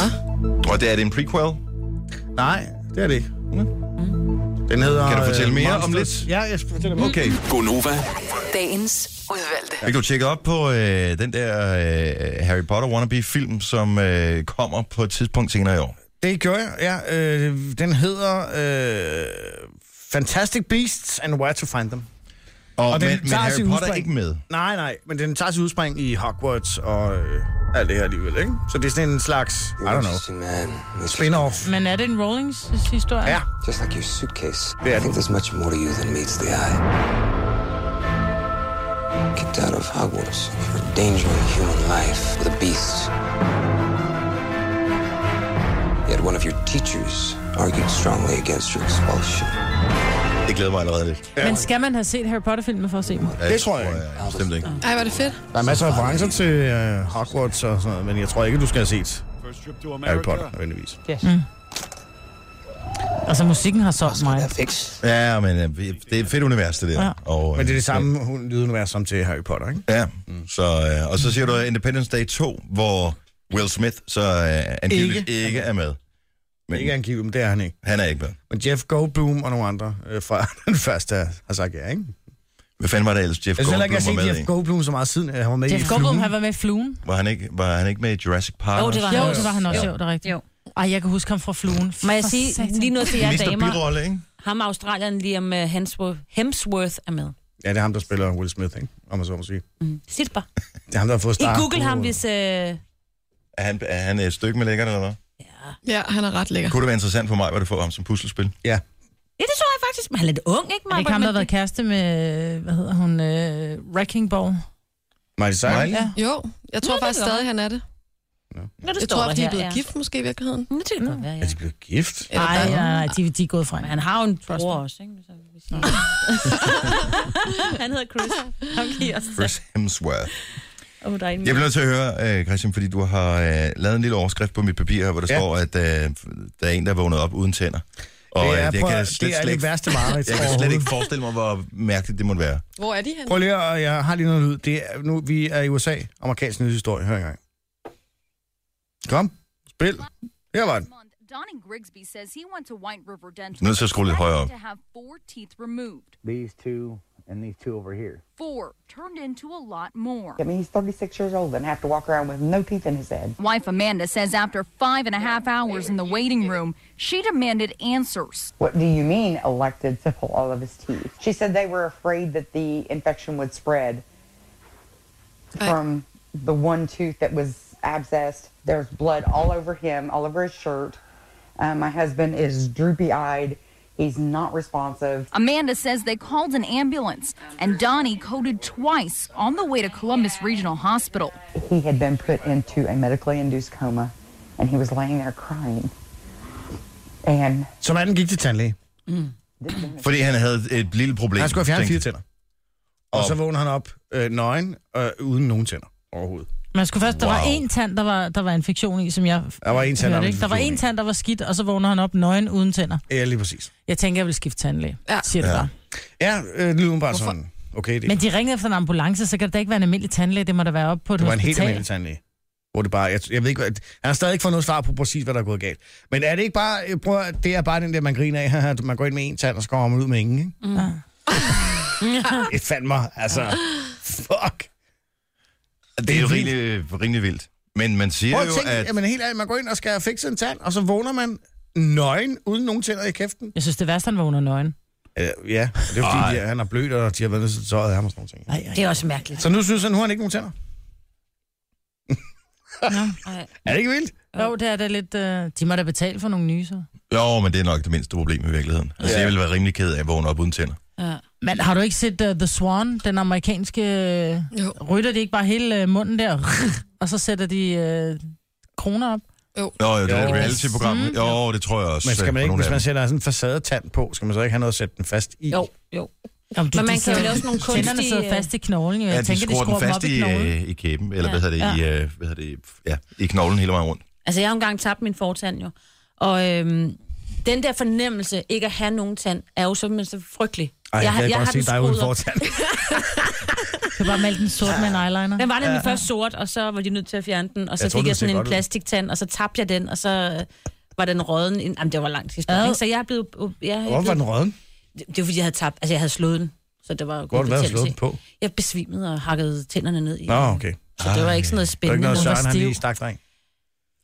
Speaker 1: Og det er det en prequel?
Speaker 6: Nej, det er det ikke. Mm. Den hedder...
Speaker 1: Mm. Kan du fortælle
Speaker 6: øh,
Speaker 1: mere om
Speaker 6: Monsters.
Speaker 1: lidt?
Speaker 6: Ja, jeg skal fortælle mere.
Speaker 1: Okay.
Speaker 7: Gonova,
Speaker 8: Dagens udvalgte.
Speaker 1: Fik du tjekket op på øh, den der øh, Harry Potter wannabe-film, som øh, kommer på et tidspunkt senere i år?
Speaker 6: Det gjorde jeg, ja. Øh, den hedder øh, Fantastic Beasts and Where to Find Them.
Speaker 1: Og,
Speaker 6: Og
Speaker 1: og
Speaker 6: den
Speaker 1: men, men
Speaker 6: tager
Speaker 1: Harry
Speaker 6: sit
Speaker 1: Potter er
Speaker 6: udspring.
Speaker 1: ikke med.
Speaker 6: Nej, nej, men den tager sit udspring i Hogwarts og øh, alt det her alligevel, ikke? Så det er sådan en slags, I don't know,
Speaker 9: Interesting man. It's
Speaker 6: spin-off.
Speaker 4: Men er det en Rollings historie?
Speaker 6: Ja,
Speaker 9: just like your suitcase.
Speaker 6: Yeah.
Speaker 9: I think there's much more to you than meets the eye. Kicked out of Hogwarts for endangering human life with a beast. Yet one of your teachers argued strongly against your expulsion.
Speaker 1: Det glæder mig allerede lidt.
Speaker 4: Men skal man have set Harry Potter-filmen for at se dem?
Speaker 1: Ja,
Speaker 6: Det tror jeg ikke.
Speaker 1: jeg bestemt ikke.
Speaker 5: ej, var det fedt.
Speaker 6: der er masser af referencer til øh, Hogwarts og sådan noget, men jeg tror ikke, du skal have set Harry Potter, nødvendigvis.
Speaker 4: Altså, musikken har solgt mig.
Speaker 1: Ja, men øh, vi- det er et fedt univers, det der.
Speaker 4: Ja.
Speaker 1: Og, øh,
Speaker 6: Men det er det samme hun- lydunivers som til Harry Potter, ikke?
Speaker 1: Ja, så, øh, og så siger du Independence Day 2, hvor Will Smith så øh, angiveligt ikke. ikke er med. Men
Speaker 6: Ikke angivet, men det er han ikke.
Speaker 1: han er ikke med.
Speaker 6: Men Jeff Goldblum og nogle andre øh, fra den første har sagt ja, ikke?
Speaker 1: Hvad fanden var det ellers, Jeff
Speaker 6: Jeg synes heller ikke, jeg har set
Speaker 1: Goldblum var med i?
Speaker 6: Jeff Goldblum så meget siden, at han var med i
Speaker 4: Jeff Goldblum,
Speaker 6: Fluen.
Speaker 4: han var med i Fluen.
Speaker 1: Var han ikke, var han ikke med i Jurassic Park?
Speaker 3: Jo,
Speaker 1: også?
Speaker 3: det var
Speaker 4: Jo,
Speaker 3: han.
Speaker 4: det var han også, jo, det er rigtigt.
Speaker 3: Jo.
Speaker 4: Ej, jeg kan huske ham fra Fluen.
Speaker 3: Må jeg
Speaker 4: For
Speaker 3: sige
Speaker 4: satan.
Speaker 3: lige noget til jer
Speaker 1: Mr.
Speaker 3: damer?
Speaker 1: Birolle, ikke?
Speaker 3: Ham og Australien Liam øh, Hemsworth, Hemsworth er med.
Speaker 6: Ja, det er ham, der spiller Will Smith, ikke? Om man så må sige.
Speaker 3: Mm. Sit bare.
Speaker 6: Det er ham, der har fået
Speaker 3: I
Speaker 6: start.
Speaker 3: Google ham, hvis... Øh... Ja.
Speaker 1: Er han, er han et stykke med lækkert, eller hvad?
Speaker 5: Ja, han er ret lækker.
Speaker 1: Kunne det være interessant for mig, hvor du får ham som puslespil?
Speaker 3: ja, det så jeg faktisk. Men han er lidt ung, ikke?
Speaker 4: Er det ikke ham, der har været kæreste med, hvad hedder hun, øh, Wrecking Ball?
Speaker 6: Miley Cyrus.
Speaker 1: Miley?
Speaker 4: Ja.
Speaker 5: Jo, jeg tror
Speaker 3: Nå,
Speaker 5: faktisk
Speaker 3: det gør
Speaker 5: stadig, han er det.
Speaker 3: Nå, det
Speaker 5: Jeg
Speaker 3: står
Speaker 5: tror,
Speaker 3: der
Speaker 5: at de er
Speaker 3: her,
Speaker 5: blevet
Speaker 3: ja.
Speaker 5: gift måske i virkeligheden.
Speaker 3: Nå, det kan godt være,
Speaker 6: Er
Speaker 3: ja.
Speaker 6: de blevet gift?
Speaker 5: Eller
Speaker 4: Nej,
Speaker 5: der-
Speaker 4: nej, nej, de, de er gået fra
Speaker 3: Men
Speaker 4: hinanden.
Speaker 3: han har jo en
Speaker 4: Trust
Speaker 3: bror
Speaker 4: me.
Speaker 3: også, ikke? Så vi siger. han hedder Chris. Han giver os.
Speaker 1: Chris Hemsworth.
Speaker 3: Oh, der er en
Speaker 1: Jeg bliver nødt til at høre, øh, Christian, fordi du har øh, lavet en lille overskrift på mit papir her, hvor der
Speaker 6: Ja.
Speaker 1: ja. står, at øh, der er en, der er vågnet op uden tænder. Og øh, det,
Speaker 6: prøv,
Speaker 1: kan jeg
Speaker 6: at-
Speaker 1: slet,
Speaker 6: det er
Speaker 1: slet,
Speaker 6: det
Speaker 1: ikke,
Speaker 6: værste mareridt.
Speaker 1: jeg kan slet ikke forestille mig, hvor mærkeligt det måtte være.
Speaker 5: Hvor er de henne?
Speaker 6: Prøv lige at, jeg har lige noget lyd. Det er, nu, vi er i USA. Amerikansk nyhedshistorie. Hør engang. Kom. Spil. Her var den.
Speaker 7: Donning Grigsby says he went to White River Dental
Speaker 1: Nu er det så skruet lidt højere op.
Speaker 7: to have four teeth removed.
Speaker 10: these two and these two over here.
Speaker 7: Four turned into a lot more.
Speaker 11: I mean, he's 36 years old and have to walk around with no teeth in his head.
Speaker 7: Wife Amanda says after five and a half hours in the waiting room, she demanded answers.
Speaker 11: What do you mean elected to pull all of his teeth? She said they were afraid that the infection would spread from the one tooth that was abscessed. There's blood all over him, all over his shirt. Uh, my husband is droopy eyed. He's not responsive.
Speaker 7: Amanda says they called an ambulance and Donnie coded twice on the way to Columbus Regional Hospital.
Speaker 11: He had been put into a medically induced coma and he was laying there crying. And
Speaker 6: Så manden gik til tandlæge.
Speaker 1: Fordi han havde et lille problem.
Speaker 6: Han skulle have fjernet fire
Speaker 1: tænkte-
Speaker 6: tænder. Og så vågner han op øh, nøgen, øh, uden nogen tænder overhovedet.
Speaker 4: Man skulle først, der var
Speaker 1: Wow.
Speaker 4: en tand, der var, der var infektion i, som jeg
Speaker 6: Der var en tand, der var
Speaker 4: hørte, ikke? Der var
Speaker 6: infektion
Speaker 4: en
Speaker 6: i.
Speaker 4: tand, der var skidt, og så vågner han op nøgen uden tænder.
Speaker 6: Ja, lige præcis.
Speaker 4: Jeg tænker, jeg vil skifte tandlæge, ja.
Speaker 5: Ja.
Speaker 4: siger det ja. bare.
Speaker 6: Ja, øh, det lyder bare sådan. Okay, det,
Speaker 4: Men de ringede efter en ambulance, så kan det da ikke være en almindelig tandlæge. Det må da være op på et
Speaker 6: det var en helt
Speaker 4: hospital.
Speaker 6: almindelig tandlæge. Hvor det bare, jeg, jeg ved ikke, hvad, han har stadig ikke fået noget svar på præcis, hvad der er gået galt. Men er det ikke bare, øh, prøv at, det er bare den der, man griner af, haha, man går ind med en tand, og så kommer man ud med ingen, ikke? Mm. det fandt mig, altså, fuck.
Speaker 1: Det er jo
Speaker 6: Det er
Speaker 1: rimelig, rimelig vildt. Men man siger
Speaker 6: Prøv at
Speaker 1: jo,
Speaker 6: tænke,
Speaker 1: at...
Speaker 6: at... jamen helt ærligt, man går ind og skal have fikset en tand, og så vågner man nøgen, uden nogen tænder i kæften.
Speaker 4: Jeg synes, det værste, han vågner nøgen.
Speaker 6: Øh, ja, og det er
Speaker 1: Ej.
Speaker 6: fordi, de, han er blødt, og de har været nødt til at tøjet af ham og sådan nogle ting.
Speaker 3: Det er også mærkeligt.
Speaker 6: Så nu synes han, nu har han ikke nogen tænder.
Speaker 3: Ej.
Speaker 6: Er det ikke vildt?
Speaker 4: Jo, det er da lidt... Øh, de må da betale for nogle nye, så.
Speaker 1: Jo, men det er nok det mindste problem i virkeligheden. Altså,
Speaker 6: Ja.
Speaker 1: jeg ville være rimelig ked af at vågne op uden tænder.
Speaker 4: Men har du ikke set uh, The Swan, den amerikanske... Uh,
Speaker 5: Jo,
Speaker 4: rytter de ikke bare hele uh, munden der, og så sætter de uh, kroner op?
Speaker 1: Jo, jo, det er
Speaker 6: Jo.
Speaker 1: et reality-program.
Speaker 4: Mm,
Speaker 1: Jo, det tror jeg også.
Speaker 6: Men skal man
Speaker 1: øh,
Speaker 6: ikke,
Speaker 1: på
Speaker 6: hvis man
Speaker 1: nogle af dem.
Speaker 6: sætter sådan en facadetand på, skal man så ikke have noget at sætte den fast i?
Speaker 3: Jo, jo.
Speaker 4: Jamen,
Speaker 3: Men man kan jo lave sådan nogle
Speaker 4: Tænderne sidder
Speaker 3: kunstige...
Speaker 4: fast i knoglen, jo. Jeg
Speaker 1: Ja, de
Speaker 4: tænker, de
Speaker 1: skruer
Speaker 4: skruer
Speaker 1: den
Speaker 4: dem
Speaker 1: fast
Speaker 4: op i,
Speaker 1: i,
Speaker 4: knoglen.
Speaker 1: øh, i kæben, eller hvad
Speaker 3: Ja.
Speaker 1: hedder det, i, øh, hvad hedder det, ja, i knoglen hele vejen rundt.
Speaker 3: Altså, jeg har jo engang tabt min fortand jo. Og øhm, den der fornemmelse, ikke at have nogen tand, er jo simpelthen så frygtelig.
Speaker 6: Ej, jeg, jeg, jeg kan godt
Speaker 3: den
Speaker 6: se dig uden
Speaker 3: skruet op.
Speaker 6: fortand.
Speaker 4: Du kan bare male den sort med en eyeliner.
Speaker 3: Den var nemlig først sort, og så var de nødt til at fjerne den, og så
Speaker 6: Jeg
Speaker 3: jeg
Speaker 6: tror,
Speaker 3: fik
Speaker 6: den
Speaker 3: jeg
Speaker 6: ser
Speaker 3: sådan en
Speaker 6: godt ud.
Speaker 3: plastiktand, og så tabte jeg den, og så øh, var den råden. ind- Jamen, det var langt historie.
Speaker 4: Ad.
Speaker 3: ikke? Så jeg er blevet... Jeg, jeg
Speaker 6: Hvorfor var
Speaker 3: blev,
Speaker 6: den røden?
Speaker 3: det, det var, fordi jeg havde tabt... Altså, jeg havde slået den. Så det var jo
Speaker 6: Hvor har
Speaker 3: god
Speaker 6: du været og
Speaker 3: betændelse.
Speaker 6: slået den på?
Speaker 3: Jeg besvimede og hakkede tænderne ned i.
Speaker 6: Nå, okay.
Speaker 3: Så det var ikke sådan noget
Speaker 6: Det var ikke
Speaker 3: spændende.
Speaker 6: noget,
Speaker 3: Den var
Speaker 6: Søren han
Speaker 3: stiv.
Speaker 6: lige stak dreng.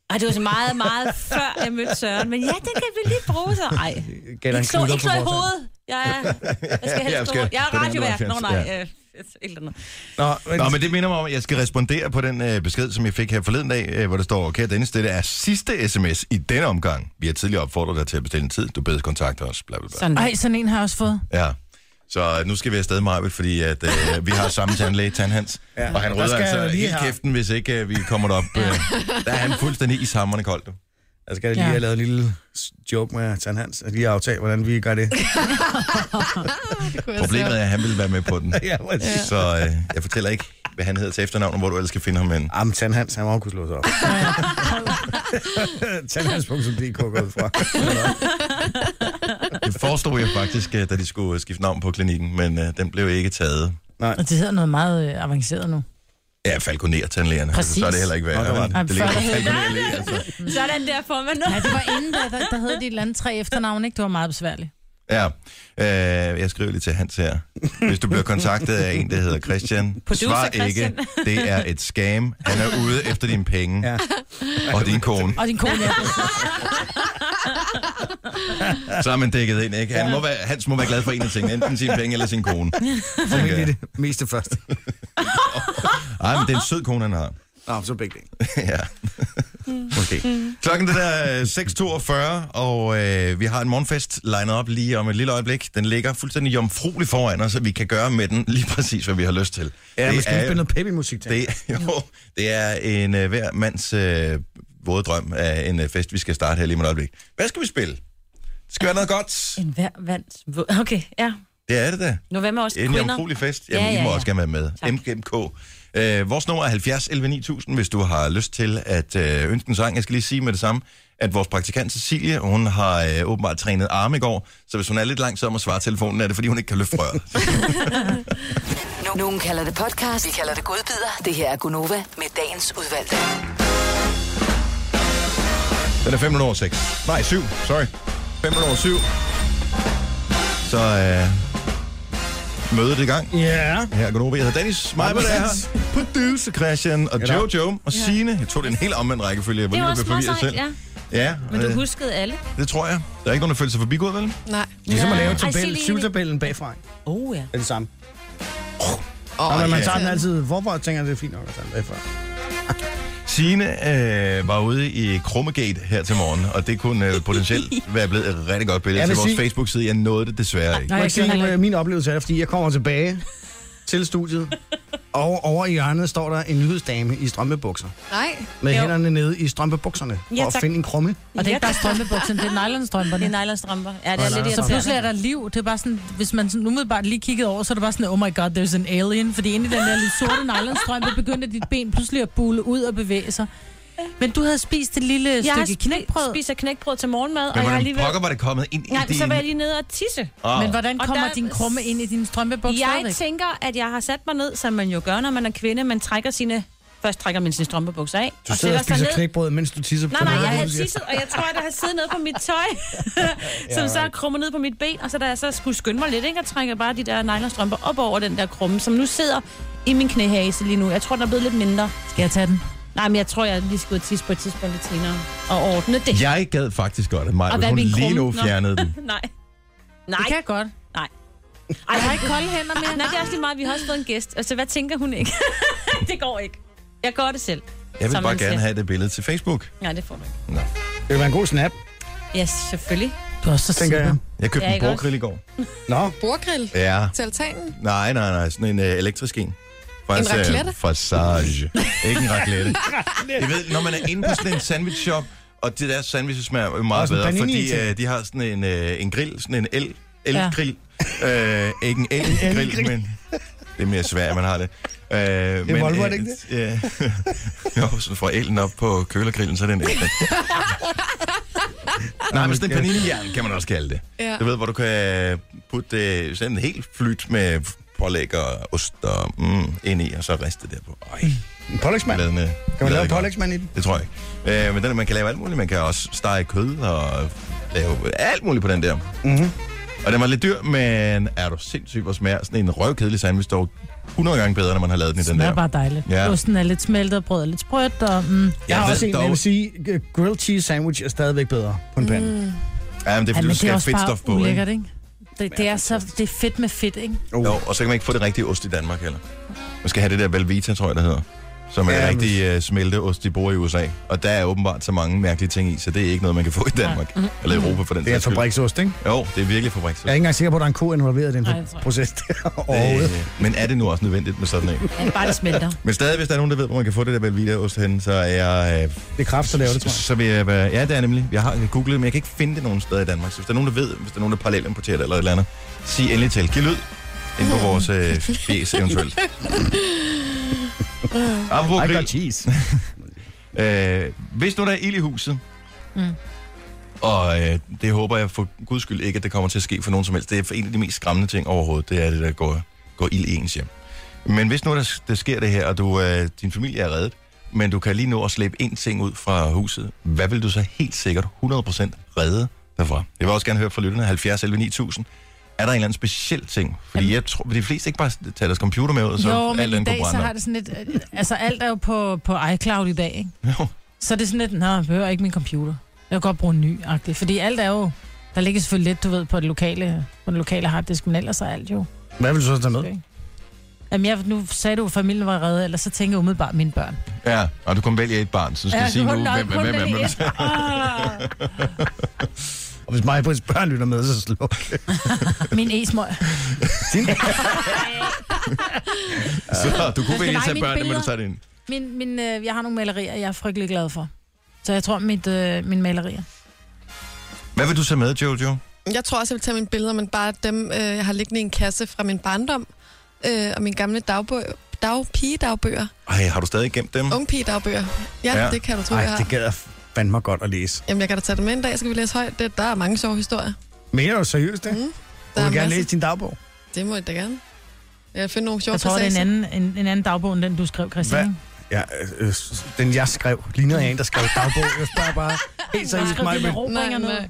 Speaker 3: Ej, det var så meget, meget før jeg mødte Søren. Men ja, den kan vi lige bruge så. Ej,
Speaker 6: Gav dig en
Speaker 3: ikke slå,
Speaker 6: knuder
Speaker 3: ikke
Speaker 6: på
Speaker 3: slå i
Speaker 6: fortanden.
Speaker 3: hovedet. Jeg er, jeg skal
Speaker 1: Ja, jeg
Speaker 3: helst
Speaker 1: skal.
Speaker 3: ja, jeg
Speaker 1: Den
Speaker 3: er
Speaker 1: er
Speaker 3: radiovært. Nå,
Speaker 1: 170,
Speaker 3: nej. Øh, et eller andet.
Speaker 6: Nå, men,
Speaker 1: Nå, men det minder mig om, at jeg skal respondere på den øh, besked, som jeg fik her forleden dag, øh, hvor der står, kære Dennis, det er sidste sms i denne omgang. Vi har tidligere opfordret dig til at bestille en tid. Du bedes kontakte os, bla bla bla.
Speaker 3: Sådan.
Speaker 4: Mm. Ej, sådan en har jeg også fået.
Speaker 1: Ja. Så øh, nu skal vi afsted, Marvitt, fordi at, øh, vi har samme tandlæge, Tandhans. Ja, og han
Speaker 6: der
Speaker 1: rydder
Speaker 6: skal
Speaker 1: altså
Speaker 6: jeg lige
Speaker 1: helt
Speaker 6: her.
Speaker 1: kæften, hvis ikke øh, vi kommer derop. Øh, der er han fuldstændig ishammerende kold, du.
Speaker 6: jeg Altså, skal lige
Speaker 4: Ja.
Speaker 6: have lavet en lille s- joke med Tan Hans, og lige aftale, hvordan vi gør det.
Speaker 5: det kunne jeg
Speaker 1: Problemet
Speaker 5: se.
Speaker 1: er, at han ville være med på den.
Speaker 6: ja, præcis.
Speaker 1: Så øh, jeg fortæller ikke, hvad han hedder til efternavn, og hvor du ellers skal finde ham hen.
Speaker 6: Jamen, Tan Hans, han må jo kunne slå sig op. Tandhans.dk går ud fra.
Speaker 1: Det forestod jeg faktisk, øh, da de skulle øh, skifte navn på klinikken, men øh, den blev ikke taget.
Speaker 4: Og det hedder noget meget øh, avanceret nu.
Speaker 1: Ja, falconer-tandlægerne. Altså,
Speaker 4: Præcis.
Speaker 1: så er det heller ikke værre.
Speaker 4: Nå, der var
Speaker 1: det,
Speaker 4: den.
Speaker 1: det ligger
Speaker 4: Før
Speaker 1: bare
Speaker 4: der hed-
Speaker 1: falconer i, altså.
Speaker 3: Sådan der får man noget.
Speaker 4: Ja, det var inden, der, der, der hed de et eller andet tre efternavn, ikke? Det var meget besværligt.
Speaker 1: Ja, øh, jeg skriver lige til Hans her. Hvis du bliver kontaktet af en, der hedder Christian,
Speaker 4: Producer
Speaker 1: svar
Speaker 4: Christian.
Speaker 1: ikke. Det er et scam. Han er ude efter dine penge. Ja. Og din kone.
Speaker 4: Og din kone, ja.
Speaker 1: Så er man dækket ind, ikke? Han må være, Hans må være glad for en af tingene. Enten sine penge eller sin kone.
Speaker 6: Formentlig det mest det første.
Speaker 1: Ej, men det er en sød kone, han har.
Speaker 6: Nå, så begge dele.
Speaker 1: ja. Måske. Klokken den er øh, 6.42, og øh, vi har en morgenfest legnet op lige om et lille øjeblik. Den ligger fuldstændig jomfruelig foran os, så vi kan gøre med den lige præcis, hvad vi har lyst til.
Speaker 6: Ja,
Speaker 1: Det
Speaker 6: man skal
Speaker 1: er-
Speaker 6: spille noget peppy musik til.
Speaker 1: Det, jo, det er en øh, hver mands øh, våde drøm af en øh, fest, vi skal starte her lige om et øjeblik. Hvad skal vi spille? Det skal være noget godt.
Speaker 3: En hver vands... våd- Okay, ja.
Speaker 1: Det er det da.
Speaker 3: Nu hvad med os
Speaker 1: En
Speaker 3: kvinder?
Speaker 1: jomfruelig fest. Jamen, ja, ja, ja. I må også gerne være med.
Speaker 3: Tak.
Speaker 1: MGMK. Øh, vores nummer er 70 11 9000, hvis du har lyst til at øh, ønske en sang. Jeg skal lige sige med det samme, at vores praktikant Cecilie, hun har øh, åbenbart trænet arme i går, så hvis hun er lidt langsom og svarer telefonen, er det fordi, hun ikke kan løfte røret.
Speaker 8: Nu- Nogen kalder det podcast, vi kalder det godbider. Det her er Gunova med dagens udvalgte.
Speaker 1: Den er 5 over 6. Nej, 7. Sorry. 5 over 7. Så øh, mødet i gang.
Speaker 6: Ja.
Speaker 1: Her er Gunova. Jeg hedder Dennis Meiber, der er her. Producer Christian og
Speaker 6: Ja.
Speaker 1: Jojo og Signe. Jeg tog det en helt omvendt rækkefølge. Jeg var
Speaker 3: Det
Speaker 1: lige
Speaker 3: var
Speaker 1: ved at
Speaker 3: også
Speaker 1: blive
Speaker 3: meget
Speaker 1: forvirret
Speaker 3: sejt,
Speaker 1: selv.
Speaker 3: ja.
Speaker 1: Ja,
Speaker 3: Men du
Speaker 1: øh,
Speaker 3: huskede alle.
Speaker 1: det tror jeg. Der er ikke nogen, der føler sig forbigået, vel?
Speaker 5: Nej.
Speaker 6: Det er
Speaker 1: Ligesom-
Speaker 6: som at lave
Speaker 3: Ej,
Speaker 6: tabel,
Speaker 3: Celine.
Speaker 6: syvtabellen bagfra. ikke?
Speaker 3: Oh, ja.
Speaker 6: Det er det samme.
Speaker 5: Åh,
Speaker 6: Og men man
Speaker 1: ja.
Speaker 6: tager den altid hvorfor, og tænker, det er fint nok at tage den bagfra.
Speaker 1: Signe øh, var ude i Krummegate her til morgen, og det kunne øh, potentielt være blevet et rigtig godt billede
Speaker 6: Jeg
Speaker 1: til
Speaker 6: vil
Speaker 1: vores
Speaker 6: sige-
Speaker 1: Facebook-side. Jeg nåede det desværre ikke.
Speaker 6: Jeg må
Speaker 4: jeg
Speaker 6: ikke
Speaker 4: gjorde
Speaker 6: sige,
Speaker 4: heller
Speaker 6: at min oplevelse er det, fordi jeg kommer tilbage til studiet, og over i hjørnet står der en nyhedsdame i strømpebukser.
Speaker 5: Nej.
Speaker 6: Med
Speaker 3: Jo.
Speaker 6: jo. hænderne nede i strømpebukserne.
Speaker 3: Ja,
Speaker 6: Ja, og
Speaker 3: tak.
Speaker 6: finde en krumme.
Speaker 4: Og det er ikke bare strømpebukserne, det er nylonstrømperne.
Speaker 3: Det er nylonstrømper. Ja, det er
Speaker 6: Nå,
Speaker 3: lidt
Speaker 4: Så pludselig
Speaker 3: irriterende.
Speaker 4: er der liv. Det er bare sådan, hvis man sådan umiddelbart lige kiggede over, så er det bare sådan, oh my god, there's an alien. Fordi inde i den der lidt sorte nylonstrømpe begyndte dit ben pludselig at bule ud og bevæge sig. Men du havde spist et lille
Speaker 3: Jeg har
Speaker 4: stykke knækbrød.
Speaker 3: spiser knækbrød til morgenmad, og
Speaker 1: Men
Speaker 3: jeg har
Speaker 1: hvordan
Speaker 3: alligevel...
Speaker 1: pokker var det kommet ind i
Speaker 3: Nej,
Speaker 1: din...
Speaker 3: så var jeg lige nede og tisse.
Speaker 1: Ah.
Speaker 4: Men hvordan
Speaker 3: Og
Speaker 4: kommer
Speaker 3: der-
Speaker 4: din krumme ind i din strømpebukser?
Speaker 3: Jeg tænker, at jeg har sat mig ned, som man jo gør, når man er kvinde. Man trækker sine... Først trækker man sine strømpebukser af.
Speaker 6: Du sidder og
Speaker 3: sætter sig
Speaker 6: spiser
Speaker 3: ned.
Speaker 6: knækbrød, mens du tisser
Speaker 3: Nej,
Speaker 6: på
Speaker 3: nej,
Speaker 6: den
Speaker 3: jeg
Speaker 6: måde,
Speaker 3: havde
Speaker 6: du siger.
Speaker 3: tisset, og jeg tror, at der har siddet noget på mit tøj, som så er krummet ned på mit ben, og så da jeg så skulle skynde mig lidt, ikke, og trækker bare de der nylonstrømper op over den der krumme, som nu sidder i min knæhase lige nu. Jeg tror, den er blevet lidt mindre.
Speaker 4: Skal jeg tage den?
Speaker 3: Nej, men jeg tror, jeg lige skulle tisse på et tidspunkt lidt senere og ordne det.
Speaker 1: Jeg gad faktisk godt, at Maja,
Speaker 3: hvad
Speaker 1: hun
Speaker 3: med en
Speaker 1: lige nu
Speaker 3: krumme? Nå.
Speaker 1: fjernede den.
Speaker 3: Nej.
Speaker 4: Det
Speaker 3: Nej.
Speaker 4: kan jeg godt.
Speaker 3: Ej, jeg har ikke kolde hænder mere. Nej, det er også lige meget. Vi har også fået en gæst. Altså, hvad tænker hun ikke? det går ikke. Jeg gør det selv.
Speaker 1: Jeg vil
Speaker 3: Som
Speaker 1: bare
Speaker 3: man
Speaker 1: gerne
Speaker 3: siger.
Speaker 1: have det billede til Facebook.
Speaker 3: Nej, det får du ikke.
Speaker 1: Nå.
Speaker 6: Det vil være en god snap,
Speaker 3: Ja, selvfølgelig.
Speaker 4: Du er så
Speaker 6: tænker jeg.
Speaker 4: sikker.
Speaker 1: Jeg købte ja,
Speaker 3: Ja,
Speaker 1: en
Speaker 3: ikke også?
Speaker 1: bordgrill i går.
Speaker 6: Nå,
Speaker 5: Bordgrill
Speaker 1: Ja.
Speaker 5: til altanen.
Speaker 1: Nej, nej, nej. Sådan en øh, elektrisk en. Fra
Speaker 5: En
Speaker 1: øh,
Speaker 5: raclette?
Speaker 1: Fra Sage. Ikke en raclette. Jeg ved, når man er inde på sådan en sandwich shop, og det der sandwiches smager jo meget
Speaker 6: Også en
Speaker 1: bedre,
Speaker 6: panini
Speaker 1: fordi
Speaker 6: til.
Speaker 1: øh, de har sådan en, øh, en grill, sådan en el, elgrill. Ja. Øh, ikke en elgrill, men det er mere svært, man har det. Øh, det men,
Speaker 6: Volvo, er det ikke
Speaker 1: det? Øh, jo, så fra elen op på kølergrillen, så er det en el. Nej, men sådan en paninijern kan man også kalde det.
Speaker 5: Ja.
Speaker 1: Du ved, hvor du kan putte øh, sådan en helt flyt med pålæg og ost og mm, ind i, og så riste det derpå. Øj,
Speaker 6: en pålægsmand.
Speaker 1: bladene,
Speaker 6: Kan man lave en pålægsmand i den?
Speaker 1: Det tror jeg ikke. Øh, men den, man kan lave alt muligt. Man kan også stege kød og lave alt muligt på den der.
Speaker 6: Mhm.
Speaker 1: Og den var lidt dyr, men er du sindssygt, hvor smager sådan en røvkedelig sandwich dog 100 gange bedre, når man har lavet den i
Speaker 4: Det
Speaker 1: den der.
Speaker 4: smager bare dejligt.
Speaker 1: Ja.
Speaker 4: Ja. Osten er lidt smeltet, og brødet er lidt sprødt, og mm,
Speaker 6: Jeg har
Speaker 1: ved
Speaker 6: også en,
Speaker 1: dog-
Speaker 6: jeg vil sige, g- grilled cheese sandwich er stadigvæk bedre på en pande. Mm.
Speaker 1: Ja, men det er,
Speaker 4: ja,
Speaker 1: fordi
Speaker 4: men
Speaker 1: du
Speaker 4: det
Speaker 1: skal
Speaker 4: er
Speaker 1: have
Speaker 4: også bare
Speaker 1: fedtstof på. ikke?
Speaker 4: ulækkert, ikke? Det, det, er så,
Speaker 1: altså,
Speaker 4: det er fedt med fedt, ikke?
Speaker 6: Uh.
Speaker 1: Jo, og så kan man ikke få det rigtige ost i Danmark heller. Man skal have det der Velveeta, tror jeg, der hedder. Som er
Speaker 6: Ja,
Speaker 1: ja,
Speaker 6: men-
Speaker 1: rigtig uh, smelteost, de bruger i USA. Og der er åbenbart så mange mærkelige ting i, så det er ikke noget, man kan få i Danmark. Ja. Eller Europa for den
Speaker 6: Mhm. Det er
Speaker 1: sags skyld.
Speaker 6: fabriksost, ikke?
Speaker 1: Jo, det er virkelig fabriks.
Speaker 6: Jeg er ikke engang sikker på, at der er en ko involveret i den
Speaker 4: Nej, det tror jeg
Speaker 6: proces der overhovedet.
Speaker 1: Øh, men er det nu også nødvendigt med sådan en?
Speaker 3: Ja, bare det smelter.
Speaker 1: Men stadig, hvis der er nogen, der ved, hvor man kan få det der Velveeta-ost henne, så er jeg... Øh,
Speaker 6: Det er kraft, der laver det, tror jeg.
Speaker 1: så vil jeg være... Ja, det er nemlig. Jeg har googlet, men jeg kan ikke finde det nogen steder i Danmark. Så hvis der er nogen, der ved, hvis der er nogen, der parallelt importerer det eller et eller andet, sig endelig til. Giv lyd ind på vores øh, fjes eventuelt. Apropos
Speaker 6: I
Speaker 1: grill,
Speaker 6: got cheese.
Speaker 1: Øh, hvis nu der er ild i huset, mm. og øh, det håber jeg for guds skyld ikke, at det kommer til at ske for nogen som helst. Det er for en af de mest skræmmende ting overhovedet, det er det, der går, går ild i ens hjem. Men hvis nu der, der sker det her, og du, øh, din familie er reddet, men du kan lige nå at slæbe én ting ud fra huset, hvad vil du så helt sikkert 100% redde derfra? Jeg vil også gerne høre fra lytterne, 70 11 9000. Er der en eller anden speciel ting? Fordi jeg tror, de fleste ikke bare tager deres computer med ud, og så
Speaker 4: jo,
Speaker 1: alt
Speaker 4: men i
Speaker 1: andet
Speaker 4: dag
Speaker 1: kunne
Speaker 4: så
Speaker 1: brænde
Speaker 4: har
Speaker 1: op.
Speaker 4: det sådan lidt... øh, Altså, alt er jo på, på iCloud i dag, ikke?
Speaker 1: Jo.
Speaker 4: Så er det sådan lidt, nej, jeg behøver ikke min computer. Jeg kan godt bruge en ny, agtig. Fordi alt er jo... Der ligger selvfølgelig lidt, du ved, på, det lokale, på den lokale harddisk, men ellers er alt jo...
Speaker 6: Hvad vil du så tage med?
Speaker 4: Jamen, jeg, nu sagde du, at familien var reddet, eller så tænker jeg umiddelbart mine børn.
Speaker 1: Ja, og du kan vælge et barn, så du skal
Speaker 4: Ja,
Speaker 1: sige nu,
Speaker 4: kun
Speaker 1: hvem,
Speaker 4: nok-
Speaker 1: hvem,
Speaker 4: kun
Speaker 1: hvem,
Speaker 4: vælge
Speaker 1: hvem,
Speaker 4: et. Ah.
Speaker 6: Og hvis mig på ens børn lytter med, så sluk.
Speaker 4: Min esmøg.
Speaker 6: Din...
Speaker 1: Så du
Speaker 4: skal
Speaker 1: kunne vælge
Speaker 4: lege
Speaker 1: at tage børnene,
Speaker 4: mine
Speaker 1: men
Speaker 4: billeder.
Speaker 1: du tager det ind.
Speaker 4: Min, min, øh, jeg har nogle malerier, jeg er frygtelig glad for. Så jeg tror, mit, øh, mine malerier.
Speaker 1: Hvad vil du tage med, Jojo?
Speaker 5: Jeg tror også, jeg vil tage mine billeder, men bare dem, øh, jeg har liggende i en kasse fra min barndom, øh, og mine gamle dagbøger, dag, pigedagbøger,
Speaker 1: Ej, har du stadig gemt dem?
Speaker 5: unge pigedagbøger. Ja, ja, det kan du tro,
Speaker 6: Mm. Ej,
Speaker 5: jeg har.
Speaker 6: det gad jeg fandme godt at læse.
Speaker 5: Jamen, jeg kan da tage dem med en dag, så kan vi læse højt. Det, der er mange sjove historier.
Speaker 6: Mener du seriøst det? Mm,
Speaker 5: der
Speaker 6: du vil
Speaker 5: er
Speaker 6: gerne
Speaker 5: masser.
Speaker 6: læse din dagbog.
Speaker 5: Det må jeg da gerne. Jeg finder nogle sjove
Speaker 4: Jeg tror, det er en
Speaker 5: passager.
Speaker 4: anden, en, en anden dagbog, end den, du skrev, Christian. ikke?
Speaker 6: Ja, øh, øh, den jeg skrev. Ligner jeg en, der skrev dagbog? Jeg spørger bare helt seriøst
Speaker 4: Skrev
Speaker 6: mig.
Speaker 4: dine erobringer
Speaker 5: Nej,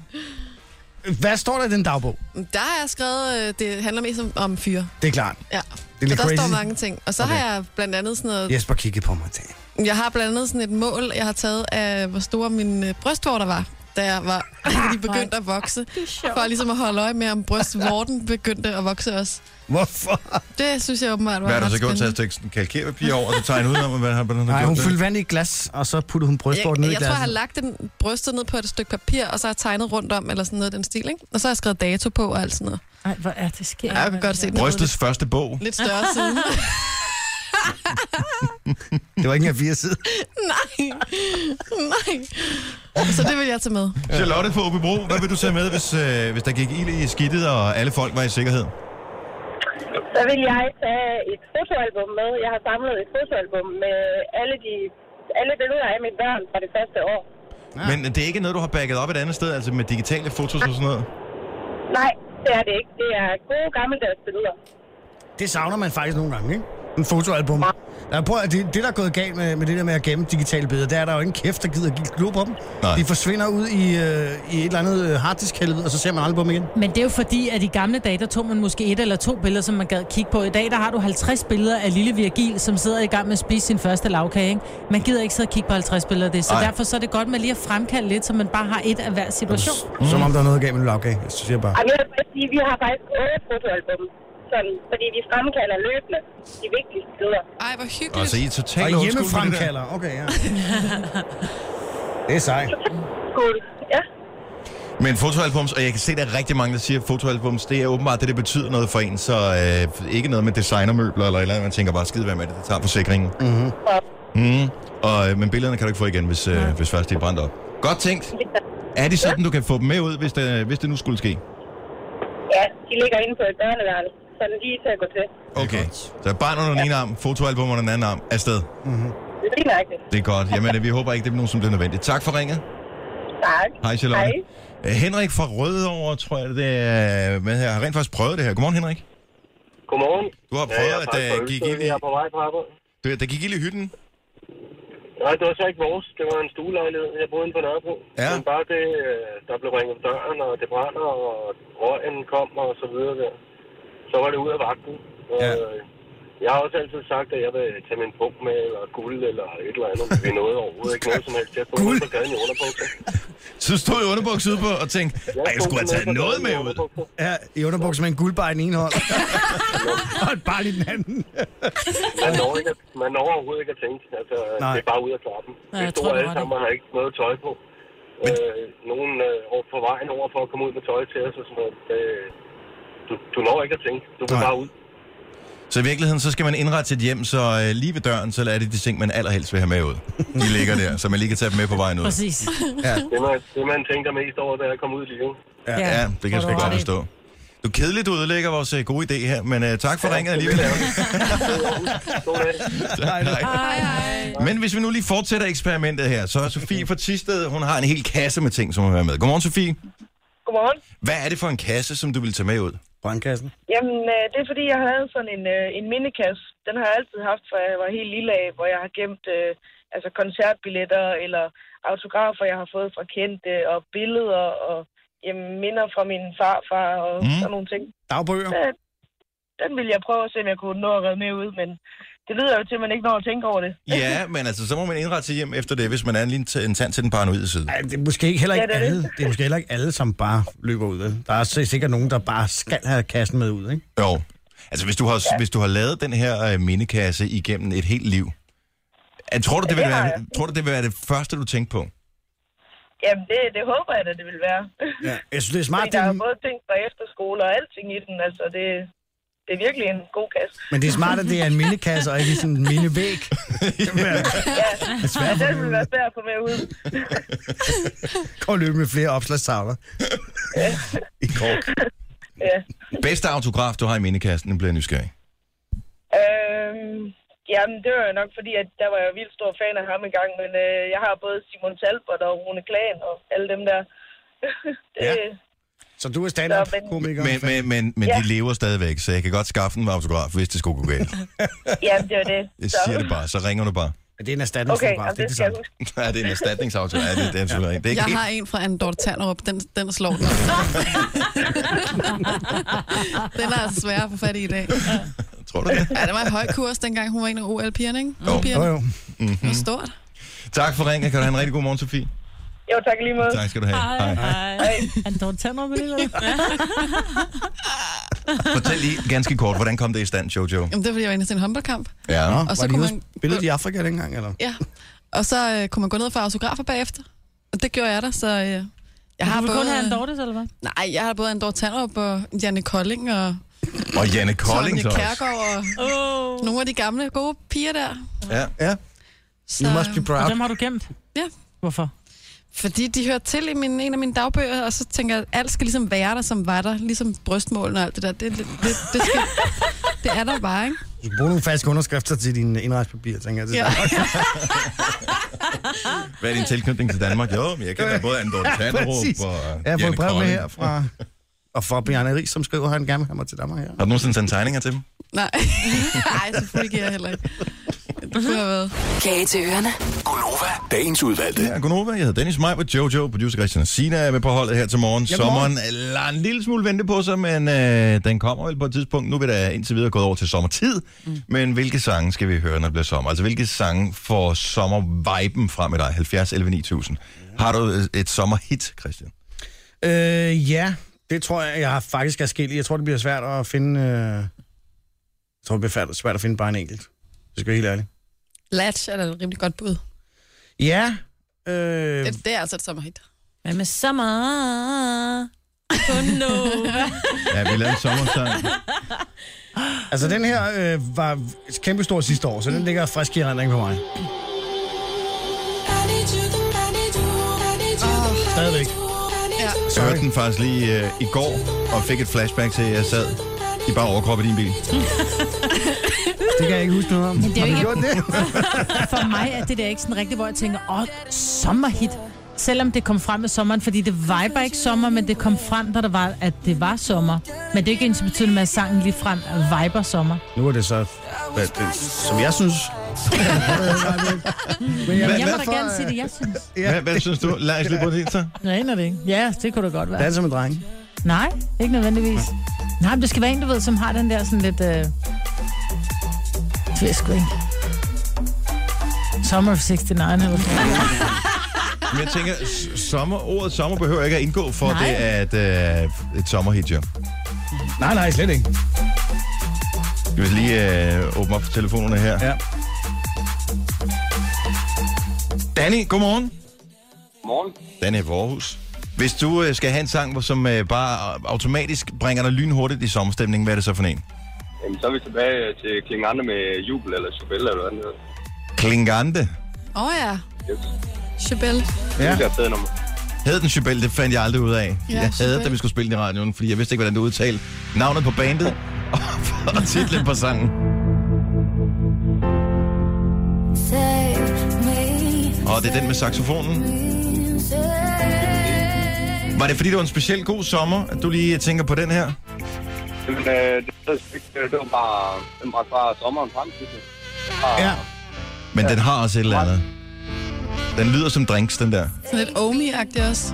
Speaker 4: ned.
Speaker 6: Hvad står der i den dagbog?
Speaker 5: Der har jeg skrevet, øh, det handler mest om, om fyre.
Speaker 6: Det er klart.
Speaker 5: Ja,
Speaker 6: Det er
Speaker 5: så
Speaker 6: lidt
Speaker 5: der
Speaker 6: crazy.
Speaker 5: står mange ting. Og så okay. har jeg blandt andet sådan noget...
Speaker 6: Jesper kiggede på mig og tænkte,
Speaker 5: Jeg har blandt andet sådan et mål, jeg har taget af, hvor store mine øh, brystvorter var, da jeg var, da de begyndte at vokse. For ligesom at holde øje med, om brystvorten begyndte at vokse også.
Speaker 6: Hvorfor?
Speaker 5: Det synes jeg åbenbart var
Speaker 1: Hvad har du
Speaker 5: ret
Speaker 1: så gjort? Taget
Speaker 5: spændende.
Speaker 1: et stykke sådan kalkerpapir over, og så tegnet ud om, hvad har hvordan har du
Speaker 6: Nej,
Speaker 1: gjort
Speaker 6: hun
Speaker 1: det?
Speaker 6: fyldte vand i et glas, og så puttede hun brystvorten ned
Speaker 5: Jeg,
Speaker 6: i
Speaker 5: jeg tror, jeg har
Speaker 6: glasset.
Speaker 5: lagt den brystet ned på et stykke papir, og så har jeg tegnet rundt om, eller sådan noget i den stil, ikke? Og så har jeg skrevet dato på og alt sådan noget.
Speaker 4: Ej, hvor er det sker.
Speaker 5: Ja, jeg kan godt se den. er
Speaker 1: Brystets første bog.
Speaker 5: Lidt større siden.
Speaker 6: Det var ikke engang fire sider.
Speaker 5: Nej. Nej. Så det vil jeg tage med.
Speaker 1: Charlotte på Åbebro, hvad vil du tage med, hvis, øh, hvis der gik ild i skidtet, og alle folk var i sikkerhed?
Speaker 12: Så vil jeg tage et fotoalbum med. Jeg har samlet et fotoalbum med alle de alle billeder af mine børn fra det første år.
Speaker 1: Ja. Men det er ikke noget, du har bagget op et andet sted, altså med digitale fotos og sådan noget?
Speaker 12: Nej, det er det ikke. Det er gode gammeldags billeder.
Speaker 6: Det savner man faktisk nogle gange, ikke? En fotoalbum. Ja, prøv, at- det, det, der er gået galt med, med det der med at gemme digitale billeder, det er, at der er jo ingen kæft, der gider at give et glob på dem.
Speaker 1: Nej.
Speaker 6: De forsvinder ud i, øh, i et eller andet øh, harddisk-helvede, og så ser man aldrig på dem igen.
Speaker 4: Men det er jo fordi, at i gamle dage, der tog man måske et eller to billeder, som man gad kigge på. I dag, der har du 50 billeder af lille Virgil, som sidder i gang med at spise sin første lavkage. Ikke? Man gider ikke sidde og kigge på 50 billeder af det. Så
Speaker 1: Ej.
Speaker 4: Ej. derfor så er det godt med lige at fremkalde lidt, så man bare har et af hver situation.
Speaker 6: Mm. Som om der er noget galt med lavkage. Jeg synes jeg bare.
Speaker 12: Jamen, jeg vil bare sige, at vi har faktisk otte fotoalbum. Sådan, fordi vi fremkalder løbende de vigtigste billeder.
Speaker 5: Ej, hvor
Speaker 1: Og
Speaker 5: hyggeligt.
Speaker 1: så Altså, I er totalt
Speaker 6: Og
Speaker 1: old school med det der.
Speaker 6: hjemmefremkalder. Okay, ja. Det er sejt.
Speaker 12: Cool. Ja.
Speaker 1: Men fotoalbums, og jeg kan se, der er rigtig mange, der siger, at fotoalbums, det er åbenbart det, det betyder noget for en, så øh, ikke noget med designermøbler eller et eller andet, man tænker bare, skide være med det, det tager forsikringen.
Speaker 6: Mm-hmm.
Speaker 12: Mhm.
Speaker 1: Mm. Og, øh, men billederne kan du ikke få igen, hvis, øh, hvis først de er brændt op. Godt tænkt. Er det sådan, du kan få dem med ud, hvis det, hvis det nu skulle ske?
Speaker 12: ja, de ligger inde på et børneværelse. Sådan lige til at gå til.
Speaker 1: Okay. Så barn under den ene arm, fotoalbum under den anden arm, afsted.
Speaker 12: Mhm. Det er lige nøjagtigt.
Speaker 1: Det er godt. Jamen, øh, vi håber ikke, det bliver nogen, som bliver nødvendigt. Tak for ringet.
Speaker 12: Tak.
Speaker 1: Hej, Charlotte.
Speaker 12: Hej.
Speaker 1: Øh, Henrik fra Rødovre, tror jeg, det er, hvad her, har rent faktisk prøvet det her. Godmorgen, Henrik.
Speaker 13: Godmorgen.
Speaker 1: Du har prøvet, at der gik ild i,
Speaker 13: Jeg er på vej på arbejde.
Speaker 1: der, der gik ild i hytten.
Speaker 13: Nej, det var så ikke vores. Det var en stuelejlighed. Jeg boede inde på Nørrebro.
Speaker 1: Ja.
Speaker 13: Men bare det, øh, der blev ringet om døren, og det brænder, og røgen kom, og så videre der. Så var det ud af vagten. øh,
Speaker 1: Ja.
Speaker 13: Jeg har også altid sagt, at jeg vil tage min punkt med, eller guld, eller et eller andet. Det er noget overhovedet. Ikke noget som helst. Jeg tog
Speaker 1: Guld?
Speaker 13: noget på gaden i underbukser.
Speaker 1: Så stod jeg underbuks ude på og tænkte, ej, jeg skulle have taget noget med ud.
Speaker 6: Ja, i underbukser med en guldbar i den ene hånd. og et barn i den anden.
Speaker 13: Man når, ikke, at- man når overhovedet ikke at tænke. Altså,
Speaker 6: Nej.
Speaker 13: det er bare ud af trappen.
Speaker 4: Nej,
Speaker 13: Vi
Speaker 4: jeg
Speaker 13: stod
Speaker 4: tror, du
Speaker 13: alle
Speaker 4: har
Speaker 13: sammen og har ikke noget tøj på. Øh, nogen øh, over på vejen over for at komme ud med tøj til os og sådan noget. Øh, du, du når ikke at tænke. Du vil
Speaker 1: Nej.
Speaker 13: bare ud.
Speaker 1: Så i virkeligheden, så skal man indrette sit hjem, så øh, lige ved døren, så er det de ting, man allerhelst vil have med ud. De ligger der, så man lige kan tage dem med på vejen ud.
Speaker 4: Præcis.
Speaker 1: Ja.
Speaker 13: Det, man, det, man tænker mest over, det er at komme ud i livet.
Speaker 1: Ja, ja det kan jeg sgu
Speaker 4: Hvor
Speaker 1: godt
Speaker 4: du har
Speaker 1: forstå. Du er kedelig, du ødelægger vores øh, gode idé her, men øh, tak for ja, ringet alligevel. Hej, hej. Men hvis vi nu lige fortsætter eksperimentet her, så er Sofie fra Tisted, hun har en hel kasse med ting, som hun vil være med. Godmorgen, Sofie.
Speaker 12: Godmorgen.
Speaker 1: Hvad er det for en kasse, som du vil tage med ud?
Speaker 2: Brandkassen.
Speaker 12: Jamen, øh, det er fordi, jeg havde sådan en, øh, en mindekasse. Den har jeg altid haft, fra jeg var helt lille af, hvor jeg har gemt øh, altså koncertbilletter eller autografer, jeg har fået fra kendte, og billeder og jamen, minder fra min farfar og
Speaker 6: Mm.
Speaker 12: mm. sådan nogle ting.
Speaker 6: Dagbøger.
Speaker 12: Så, den ville jeg prøve at se, om jeg kunne nå at redde med ud, men det lyder jo til, at man ikke når at tænke over det.
Speaker 1: Ja, men altså, så må man indrette sig hjem efter det, hvis man er en, lille- en tand til den paranoide side.
Speaker 6: Ej, det er måske ikke heller
Speaker 12: Ja,
Speaker 6: ikke
Speaker 12: det er det.
Speaker 6: alle, det er måske heller ikke alle, som bare løber ud. vel? Der er s- sikkert nogen, der bare skal have kassen med ud, ikke?
Speaker 1: Jo. Altså, hvis du har, ja. hvis du har lavet den her øh, mindekasse igennem et helt liv, øh, tror, du, det vil
Speaker 12: Ja, det har
Speaker 1: være, tror du, det vil være det første, du tænker på?
Speaker 12: Jamen, det, det håber jeg da, det vil være.
Speaker 6: Ja. Jeg synes, det er smart.
Speaker 12: Fordi der er både ting fra efterskole og alting i den, altså det, det er virkelig en god kasse.
Speaker 6: Men det er smart, at det er en mindekasse og ikke sådan en mindevæg.
Speaker 12: Ja,
Speaker 6: er svært at få med
Speaker 12: det vil
Speaker 6: ud.
Speaker 12: være svært at få med ud.
Speaker 6: Kom og løbe med flere opslagstavler.
Speaker 1: I kork.
Speaker 12: Ja.
Speaker 1: Bedste autograf, du har i mindekassen, den bliver jeg nysgerrig.
Speaker 12: Øhm, jamen, det var jo nok fordi, at der var jeg vildt stor fan af ham engang, men øh, jeg har både Simon Talbot og Rune Klan og alle dem der. det,
Speaker 6: Ja.
Speaker 12: ja.
Speaker 6: Så du er stand-up-komiker.
Speaker 1: Men, men, men, men ja. de lever stadigvæk, så jeg kan godt skaffe en autograf, hvis det skulle gå galt.
Speaker 12: Jamen, det var det.
Speaker 1: Jeg siger det bare, så ringer du bare.
Speaker 6: Ja, det er en
Speaker 12: Okay,
Speaker 6: erstatningsautograf,
Speaker 12: jamen,
Speaker 6: det er
Speaker 12: det
Speaker 6: det
Speaker 12: skal jeg
Speaker 6: samme.
Speaker 12: huske.
Speaker 1: Ja, det er en erstatningsaftale. Ja, det, det er selvfølgelig rigtigt. Det er
Speaker 5: Jeg
Speaker 1: ikke
Speaker 5: har
Speaker 1: helt...
Speaker 5: en fra Andor Tanderup. Den, den slår den. den er altså svær at få fat i i dag.
Speaker 1: Tror du det?
Speaker 5: Ja, det var en høj kurs, dengang hun var en af OL-pigerne, ikke?
Speaker 1: Jo.
Speaker 5: OL-pigerne.
Speaker 1: Jo, Mm. jo.
Speaker 5: Det var stort.
Speaker 1: Tak for ringen. Kan du have en rigtig god morgen, Sofie?
Speaker 12: Jo, tak i lige måde.
Speaker 1: Tak skal du have. Hej.
Speaker 4: Hej. Han dog tænder med det,
Speaker 1: Fortæl lige ganske kort, hvordan kom det i stand, Jojo?
Speaker 5: Jamen, det var, fordi jeg var inde til en håndboldkamp.
Speaker 1: Ja.
Speaker 6: Nå,
Speaker 5: Og så
Speaker 6: var de
Speaker 5: kunne
Speaker 6: ude
Speaker 5: man-
Speaker 6: og spille i Afrika dengang, eller?
Speaker 5: Ja. Og så øh, kunne man gå ned og få autografer bagefter. Og det gjorde jeg der, så øh, jeg har
Speaker 4: du vil
Speaker 5: både...
Speaker 4: kun have en Dortes, eller hvad?
Speaker 5: Nej, jeg har både Andor Tanderup og Janne Kolding og
Speaker 1: Og Janne Kolding så
Speaker 5: Sonja
Speaker 1: også.
Speaker 5: Kærgaard og oh. nogle af de gamle gode piger der.
Speaker 1: Ja.
Speaker 6: Ja.
Speaker 5: Så,
Speaker 4: Og dem har du gemt?
Speaker 5: Ja.
Speaker 4: Hvorfor?
Speaker 5: Fordi de hører til i min, en af mine dagbøger, og så tænker jeg, at alt skal ligesom være der, som var der. Ligesom brystmålen og alt det der. Det, det, det, det, skal, det er der bare, ikke?
Speaker 6: Du skal bruge nogle falske underskrifter til dine indrejspapirer, tænker jeg. Det er
Speaker 5: Ja.
Speaker 1: Hvad er din tilknytning til Danmark? Jo, men jeg kender både Andor
Speaker 6: Præcis.
Speaker 1: Tanderup og
Speaker 6: Jeg har fået
Speaker 1: Janne
Speaker 6: et brev med
Speaker 1: Kolding.
Speaker 6: her fra, og fra Bjarne Ries, som skriver, at han gerne vil have mig til Danmark her.
Speaker 1: Har du nogensinde sendt tegninger til dem?
Speaker 5: Nej, Nej selvfølgelig giver jeg heller ikke. Det kunne have været.
Speaker 8: Kage til ørerne.
Speaker 1: Dagens er udvalgte. Ja, Gunova, jeg hedder Dennis Maj, Jojo, producer Christian og Sina er med på holdet her til morgen.
Speaker 6: Ja,
Speaker 1: Sommeren
Speaker 6: godmorgen.
Speaker 1: lader en lille smule vente på sig, men øh, den kommer vel på et tidspunkt. Nu er vi da indtil videre gået over til sommertid. Mm. Men hvilke sange skal vi høre, når det bliver sommer? Altså, hvilke sange får sommerviben frem i dig? 70 11 9000. Har du øh, et sommerhit, Christian?
Speaker 6: Øh, ja, det tror jeg, jeg har faktisk er skilt. Jeg tror, det bliver svært at finde... Øh... Jeg tror, det bliver færd- svært at finde bare en enkelt. Det skal jeg være helt ærligt.
Speaker 5: Latch er da et rimelig godt bud.
Speaker 6: Ja, øh,
Speaker 5: Det, det er altså et sommerhit.
Speaker 3: Hvad med sommer? Kun Nova.
Speaker 1: Ja, vi lavede en sommersang.
Speaker 6: altså den her øh, var kæmpestor sidste år, så den ligger frisk i erindring for mig. Stadigvæk.
Speaker 5: Ja.
Speaker 1: Jeg hørte den faktisk lige øh, i går, og fik et flashback til, at jeg sad i bare overkrop i din bil.
Speaker 6: Det kan jeg ikke huske noget om.
Speaker 4: det er
Speaker 6: Har
Speaker 4: jo
Speaker 6: du gjort
Speaker 4: ikke-
Speaker 6: det?
Speaker 4: For mig er det der ikke sådan rigtigt, hvor jeg tænker, åh, sommerhit. Selvom det kom frem med sommeren, fordi det viber ikke sommer, men det kom frem, da der var, at det var sommer. Men det er ikke ens betydende med, at sangen lige frem viber sommer.
Speaker 6: Nu er det så, hvad, det, som jeg synes. Men
Speaker 4: Jeg,
Speaker 6: hvad-
Speaker 4: jeg
Speaker 6: hvad
Speaker 4: må da
Speaker 6: for,
Speaker 4: gerne
Speaker 6: øh,
Speaker 4: sige det, jeg synes.
Speaker 1: Hvad, hvad synes du? Lad os lige på det, så.
Speaker 4: Jeg aner det ikke. Ja, det kunne da godt være.
Speaker 6: Dans som en dreng.
Speaker 4: Nej, ikke nødvendigvis. Nej, men det skal være en, du ved, som har den der sådan lidt... Øh... Det ved jeg sgu ikke. Summer of 69 eller sådan noget.
Speaker 1: Men jeg tænker, s- sommer, ordet sommer behøver ikke at indgå for,
Speaker 4: Nej.
Speaker 1: Nej. det er et, øh, et sommerhit, jo.
Speaker 6: Nej, nej, slet ikke.
Speaker 1: Skal vi lige øh, åbne op for telefonerne her?
Speaker 6: Ja.
Speaker 1: Danny, godmorgen.
Speaker 14: Morgen.
Speaker 1: Danny er fra Aarhus. Hvis du øh, skal have en sang, hvor- som øh, bare automatisk bringer dig lynhurtigt i sommerstemningen, hvad er det så for en?
Speaker 14: Jamen, så er vi tilbage til Klingande med Jubel eller Chubella eller hvad det hedder.
Speaker 1: Klingande.
Speaker 5: Åh oh, ja.
Speaker 14: Yes.
Speaker 5: Chabelle.
Speaker 14: Ja. Det er et fedt nummer.
Speaker 1: Hed den Chibel, det fandt jeg aldrig ud af.
Speaker 5: Ja,
Speaker 1: jeg havde,
Speaker 5: Chibel.
Speaker 1: da vi skulle spille den i radioen, fordi jeg vidste ikke, hvordan du udtalte navnet på bandet og, og titlen på sangen. Og det er den med saxofonen. Var det fordi, det var en speciel god sommer, at du lige tænker på den her?
Speaker 15: Jamen, øh, det, ved jeg ikke. det var bare, den var bare sommeren frem, synes jeg.
Speaker 1: Ja. Men den har også et eller andet. Den lyder som drinks, den der.
Speaker 5: Sådan lidt omi-agtigt også.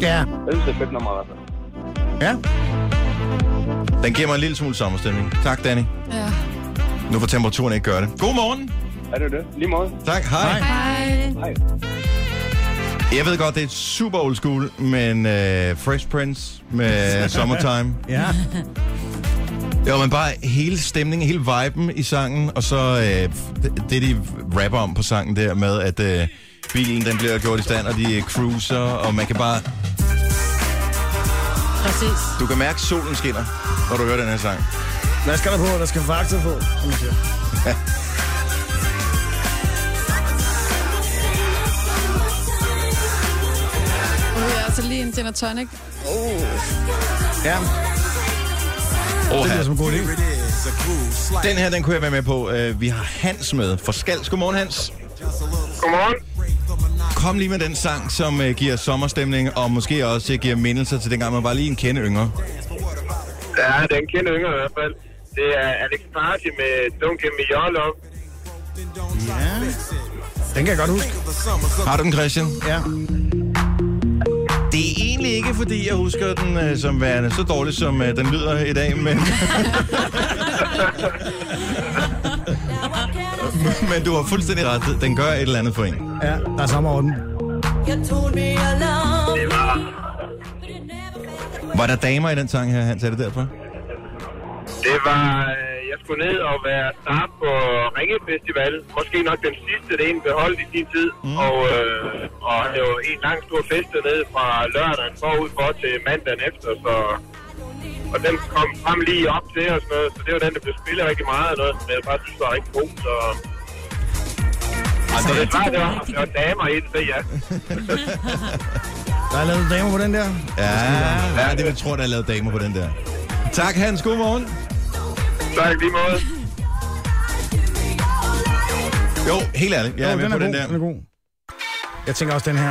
Speaker 6: Ja.
Speaker 15: Jeg synes, det er fedt nummer i hvert fald.
Speaker 6: Ja.
Speaker 1: Den giver mig en lille smule sommerstemning. Tak, Danny.
Speaker 5: Ja.
Speaker 1: Nu får temperaturen ikke gøre det. God morgen.
Speaker 15: Er det det? Lige måde.
Speaker 1: Tak, hej.
Speaker 5: Hej.
Speaker 15: Hej.
Speaker 1: Jeg ved godt, det er super old school, men uh, Fresh Prince med Summertime.
Speaker 6: ja.
Speaker 1: Jo, men bare hele stemningen, hele viben i sangen, og så øh, det, det, de rapper om på sangen der med, at øh, bilen den bliver gjort i stand, og de øh, cruiser, og man kan bare...
Speaker 16: Præcis.
Speaker 1: Du kan mærke, solen skinner, når du hører den her sang.
Speaker 6: Hvad skal der på? Der skal fakta på, som man siger.
Speaker 5: Nu er altså lige en gin og tonic. Oh.
Speaker 6: Ja.
Speaker 1: Åh,
Speaker 6: Det lyder som en god idé.
Speaker 1: Den her, den kunne jeg være med på. Øh, vi har Hans med fra Skals. Godmorgen, Hans.
Speaker 15: Godmorgen.
Speaker 1: Kom lige med den sang, som øh, giver sommerstemning, og måske også øh, giver mindelser til dengang, man var lige en kende yngre.
Speaker 15: Ja, den kender yngre i hvert fald. Det er Alex Party med Don't Give Me Your Love.
Speaker 6: Ja. Den kan jeg godt huske.
Speaker 1: Har du den, Christian?
Speaker 6: Ja.
Speaker 1: Det er egentlig ikke, fordi jeg husker den øh, som værende så dårlig, som øh, den lyder i dag, men... men du har fuldstændig ret. Den gør et eller andet for en.
Speaker 6: Ja, der er samme orden.
Speaker 1: Var der damer i den sang her, Hans? Er det derfor?
Speaker 15: Det var, øh, jeg skulle ned og være start på Ringe Festival. Måske nok den sidste, det ene beholdt i sin tid. Mm. Og, øh, og det var en lang stor fest dernede fra lørdagen forud for til mandagen efter. Så, og den kom frem lige op til og sådan noget. Så det var den, der blev spillet rigtig meget og noget, som jeg bare synes var rigtig god. Så, så det, var, det, var, det var damer i det, så ja.
Speaker 6: Der er lavet damer på den der.
Speaker 1: Ja, ja det vil jeg tror, der er lavet damer på den der. Tak, Hans. God morgen.
Speaker 15: Tak lige måde.
Speaker 1: Jo, helt ærligt. Jeg er
Speaker 6: Jo,
Speaker 1: med
Speaker 6: den
Speaker 1: på
Speaker 6: er
Speaker 1: den
Speaker 6: god,
Speaker 1: der.
Speaker 6: Den er god. Jeg tænker også den her.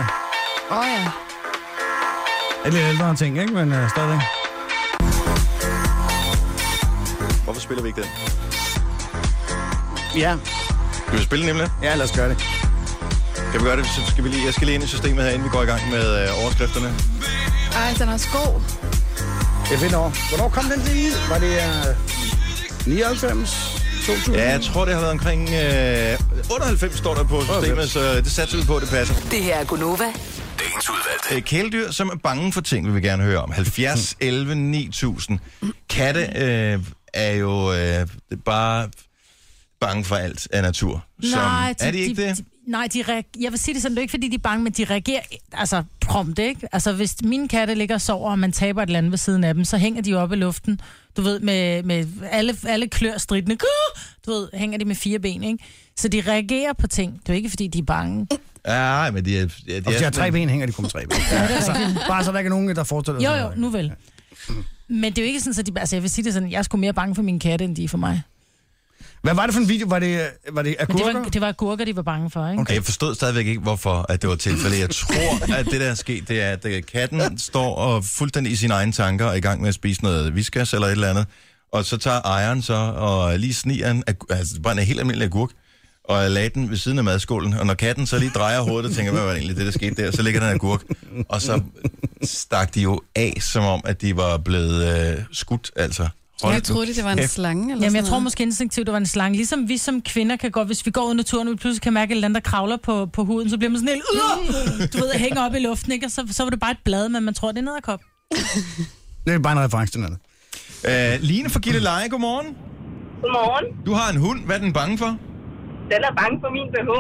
Speaker 5: Åh oh, ja.
Speaker 6: Et lidt ældre ting, ikke? Men uh, stadigvæk.
Speaker 1: Hvorfor spiller vi ikke den?
Speaker 6: Ja.
Speaker 1: Skal vi spille nemlig?
Speaker 6: Ja, lad os gøre det.
Speaker 1: Kan vi gøre det? Så skal vi lige, jeg skal lige ind i systemet her, inden vi går i gang med øh, overskrifterne.
Speaker 5: Ej, den er også god.
Speaker 6: Jeg finder over. Hvornår kom den til? Var det øh, uh, 99? 2000?
Speaker 1: Ja, jeg tror, det har været omkring øh, 98, står der på systemet, så øh, det satser vi på, at det passer.
Speaker 17: Det her er Gunova.
Speaker 1: Øh, Kæledyr, som er bange for ting, vil vi gerne høre om. 70,
Speaker 6: Mm.
Speaker 1: 11, 9000. Katte øh, er jo øh, bare bange for alt af natur. er de ikke
Speaker 4: de,
Speaker 1: det?
Speaker 4: De, nej, de reager, jeg vil sige det sådan, det er ikke fordi, de er bange, men de reagerer altså, prompt, ikke? Altså, hvis mine katte ligger og sover, og man taber et eller andet ved siden af dem, så hænger de jo oppe i luften, du ved, med, med alle, alle klør stridende, Gah! du ved, hænger de med fire ben, ikke? Så de reagerer på ting. Det er jo ikke, fordi de er bange.
Speaker 1: Ja, Ah, men de er... Ja, de
Speaker 6: Og hvis jeg
Speaker 1: er
Speaker 6: har tre
Speaker 1: sådan-
Speaker 6: ben, hænger de kun med tre ben.
Speaker 4: Ja, det er
Speaker 6: altså,
Speaker 4: rigtigt.
Speaker 6: bare så der ikke er nogen, der forestiller
Speaker 4: Jo,
Speaker 6: sig
Speaker 4: jo,
Speaker 6: noget.
Speaker 4: nu vel. Men det er jo ikke sådan, at de... Altså, jeg vil sige det sådan, jeg er sgu mere bange for mine katte, end de er for mig.
Speaker 6: Hvad var det for en video? Var det, øh, var det
Speaker 4: Men det
Speaker 6: agurker?
Speaker 4: var, det var agurker, de var bange for, ikke?
Speaker 1: Okay. Jeg forstod stadigvæk ikke, hvorfor at det var tilfældet. Jeg tror, at det, der er sket, det er, at øh, katten står og fuldstændig i sine egne tanker og er i gang med at spise noget viskas eller et eller andet. Og så tager ejeren så og lige sniger en, agu- altså bare en helt almindelig agurk, og lagde den ved siden af madskålen. Og når katten så lige drejer hovedet og tænker, hvad var det egentlig det, der skete der, så ligger der en agurk. Og så stak de jo af, som om, at de var blevet øh, skudt, altså. Hold
Speaker 5: Jeg troede, lige, det var en
Speaker 1: kæft.
Speaker 5: slange. Eller
Speaker 4: Jamen,
Speaker 5: sådan
Speaker 4: jeg tror
Speaker 5: noget.
Speaker 4: måske instinktivt, det var en slange. Ligesom vi som kvinder kan gå, hvis vi går ud i naturen, og vi pludselig kan mærke, at et eller andet, der kravler på, på huden, så bliver man sådan helt, "Uah!" du ved, hænger op i luften, ikke? Og så, så var det bare et blad, men man tror, det er en edderkop.
Speaker 6: Det er bare en reference til noget.
Speaker 1: Øh, Line fra Gilleleje, godmorgen.
Speaker 18: Godmorgen.
Speaker 1: Du har en hund. Hvad er den bange for?
Speaker 18: Den er bange for min BH.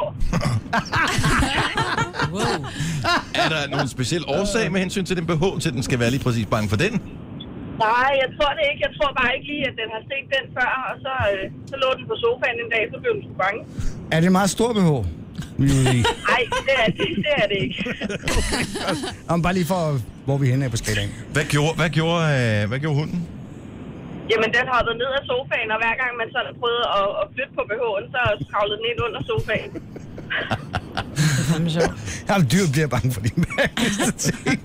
Speaker 1: Er der nogen speciel årsag med hensyn til den BH, til at den skal være lige præcis bange for den?
Speaker 18: Nej, jeg tror det ikke. Jeg tror bare ikke lige, at den har set den før, og så, øh, så lå den på sofaen en dag, så blev den sgu bange.
Speaker 6: Er det en meget stor behov?
Speaker 18: Nej, det er det, det, er det ikke.
Speaker 6: Om bare lige for, hvor vi er henne er på skalaen.
Speaker 1: Hvad gjorde, hvad gjorde, øh, hvad gjorde hunden?
Speaker 18: Jamen, den hoppede ned af sofaen, og hver gang man sådan prøvede at, at flytte på BH'en, så kravlede den ind under sofaen.
Speaker 6: Jamen, dyr bliver bange for dine mærkeligste ting.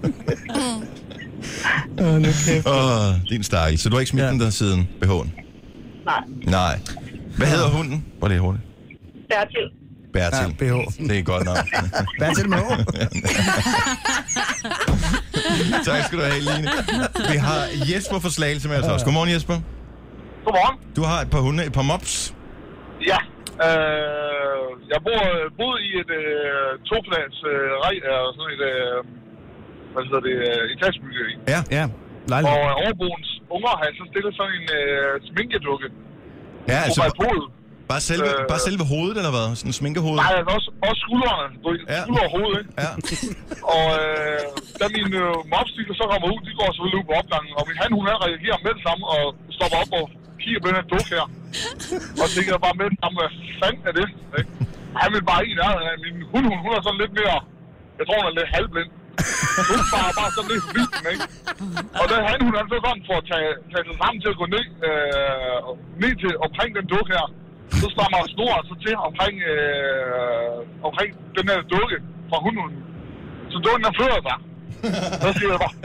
Speaker 1: Åh, oh, kæft. Åh, din stakkel. Så du har ikke smidt ja. den der siden, BH'en?
Speaker 12: Nej,
Speaker 1: Nej. Hvad hedder hunden? Hvor er det hurtigt?
Speaker 12: dertil.
Speaker 1: Bertil. Ja, BH. Det er godt nok.
Speaker 6: Bertil med H.
Speaker 1: tak skal du have, Line. Vi har Jesper fra Slagelse med os også. Godmorgen, Jesper.
Speaker 14: Godmorgen.
Speaker 1: Du har et par hunde, et par mops.
Speaker 14: Ja, øh, jeg bor, boede i et øh, toplads øh, rej, øh, sådan et, øh, hvad hedder det, øh, etagebyggeri.
Speaker 1: Ja.
Speaker 6: Ja,
Speaker 14: Og
Speaker 6: lejlighed.
Speaker 14: øh, overboens unger har så stillet sådan en øh, sminkedukke.
Speaker 1: Ja, altså...
Speaker 14: Opal
Speaker 1: Bare selve,
Speaker 14: Øh.
Speaker 1: bare selve hovedet, eller hvad? Sådan en sminkehoved?
Speaker 14: Nej, altså også, også skuldrene. Du ved, ja. skulder og hoved, ikke?
Speaker 1: Ja.
Speaker 14: og øh, da min øh, mops, de så kommer ud, de går selvfølgelig ud på opgangen. Og min han, hun han reagerer med det samme og stopper op og kigger på den her duk her. Og tænker bare med det samme, hvad fanden er det? Ikke? Han vil bare i nærheden af min hund, hun, hun er sådan lidt mere, jeg tror hun er lidt halvblind. Hun bare bare sådan lidt vildt, ikke? Og da han, hun er så sådan for at tage, tage sig sammen til at gå ned, øh, ned til omkring den dukke her, så stammer snoren så til omkring, øh, omkring den her dukke fra hunden. Så dukken den flytter sig. Så siger jeg bare,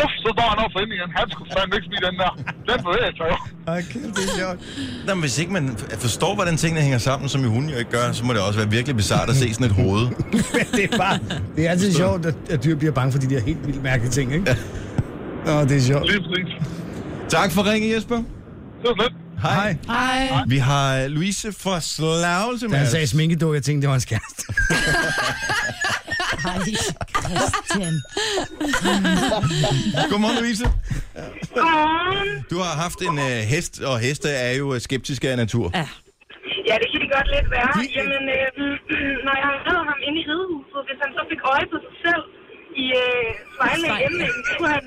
Speaker 14: Uff, så står han op for ind igen. Han skulle fandme ikke smide den der. Den bevæger sig jo.
Speaker 1: Okay, det er sjovt. Nå, men hvis ikke man f- forstår, hvordan tingene hænger sammen, som i hunden jo ikke gør, så må det også være virkelig bizart at se sådan et hoved.
Speaker 6: det er bare... Det er altid sjovt, at, at dyr bliver bange for de der helt vildt mærkelige ting, ikke? Nå, det er sjovt.
Speaker 14: Lige præcis.
Speaker 1: tak for ringen, Jesper.
Speaker 14: Det var lidt.
Speaker 1: Hej.
Speaker 4: Hej.
Speaker 1: Vi har øh, Louise fra Slagelse
Speaker 6: Da
Speaker 1: med
Speaker 6: han
Speaker 1: os.
Speaker 6: sagde sminkeduk, jeg tænkte, det var hans kæreste.
Speaker 4: Hej, Christian.
Speaker 1: Godmorgen, Louise. Du har haft en øh, hest, og heste er jo øh, skeptiske af natur. Ja.
Speaker 18: Ja, det kan det godt lidt være. Jamen, øh, når jeg havde ham inde i ridehuset, hvis han så fik øje på sig selv i øh, svejlende
Speaker 19: Svejl.
Speaker 18: hjemlæggen, så kunne han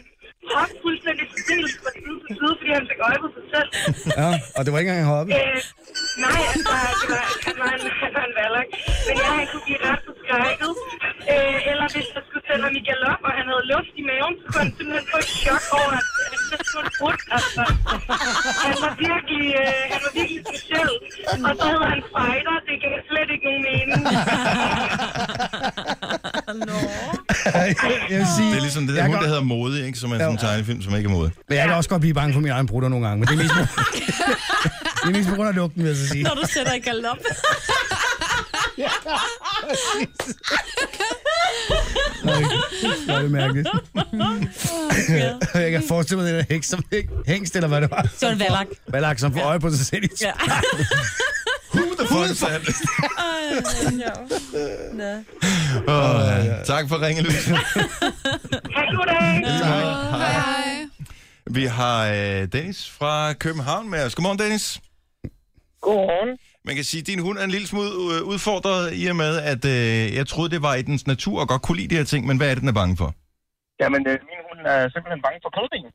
Speaker 18: hoppe fuldstændig stillet fra side til side, fordi han fik øje på sig selv.
Speaker 6: Ja, og det var ikke engang heroppe.
Speaker 18: Øh, nej, altså, det var, han var en, han var en valak. Men ja, han kunne blive ret forskrækket. Øh, eller hvis jeg skulle sende ham i galop, og han havde luft i maven, så kunne han simpelthen få et chok over, at at det var sådan brudt. Altså, han var virkelig, øh, han var virkelig speciel. Og så hed han fighter. Det gav slet ikke nogen mening.
Speaker 6: jeg vil sige,
Speaker 1: Det er ligesom det der
Speaker 6: jeg
Speaker 1: hund, der
Speaker 6: kan-
Speaker 1: hedder modig, ikke? Som er sådan en tegnefilm, som ikke er modig.
Speaker 6: Men jeg kan også godt blive bange for min egen brutter nogle gange, men det er mest på, det er mest på grund af lugten, vil jeg så sige.
Speaker 3: Når du sætter i galop.
Speaker 6: Nå, det er mærkeligt. jeg kan forestille mig, den der heks, som, hængst, eller hvad det var.
Speaker 3: Det var en valak.
Speaker 6: Valak, som får øje på sig selv. i-
Speaker 3: Ja.
Speaker 1: Who the fuck is that?
Speaker 3: Nå.
Speaker 1: Åh, ja. tak for ringen, Louise.
Speaker 18: Ha' en god dag.
Speaker 1: Tak.
Speaker 5: Hej.
Speaker 1: Vi har øh, Dennis fra København med os. Godmorgen, Dennis.
Speaker 15: Godmorgen.
Speaker 1: Man kan sige, at din hund er en lille smule øh, udfordret i og med, at øh, jeg troede, det var i dens natur og godt kunne lide de her ting, men hvad er det, den er bange for?
Speaker 15: Jamen, øh, min hund er simpelthen bange for kødding.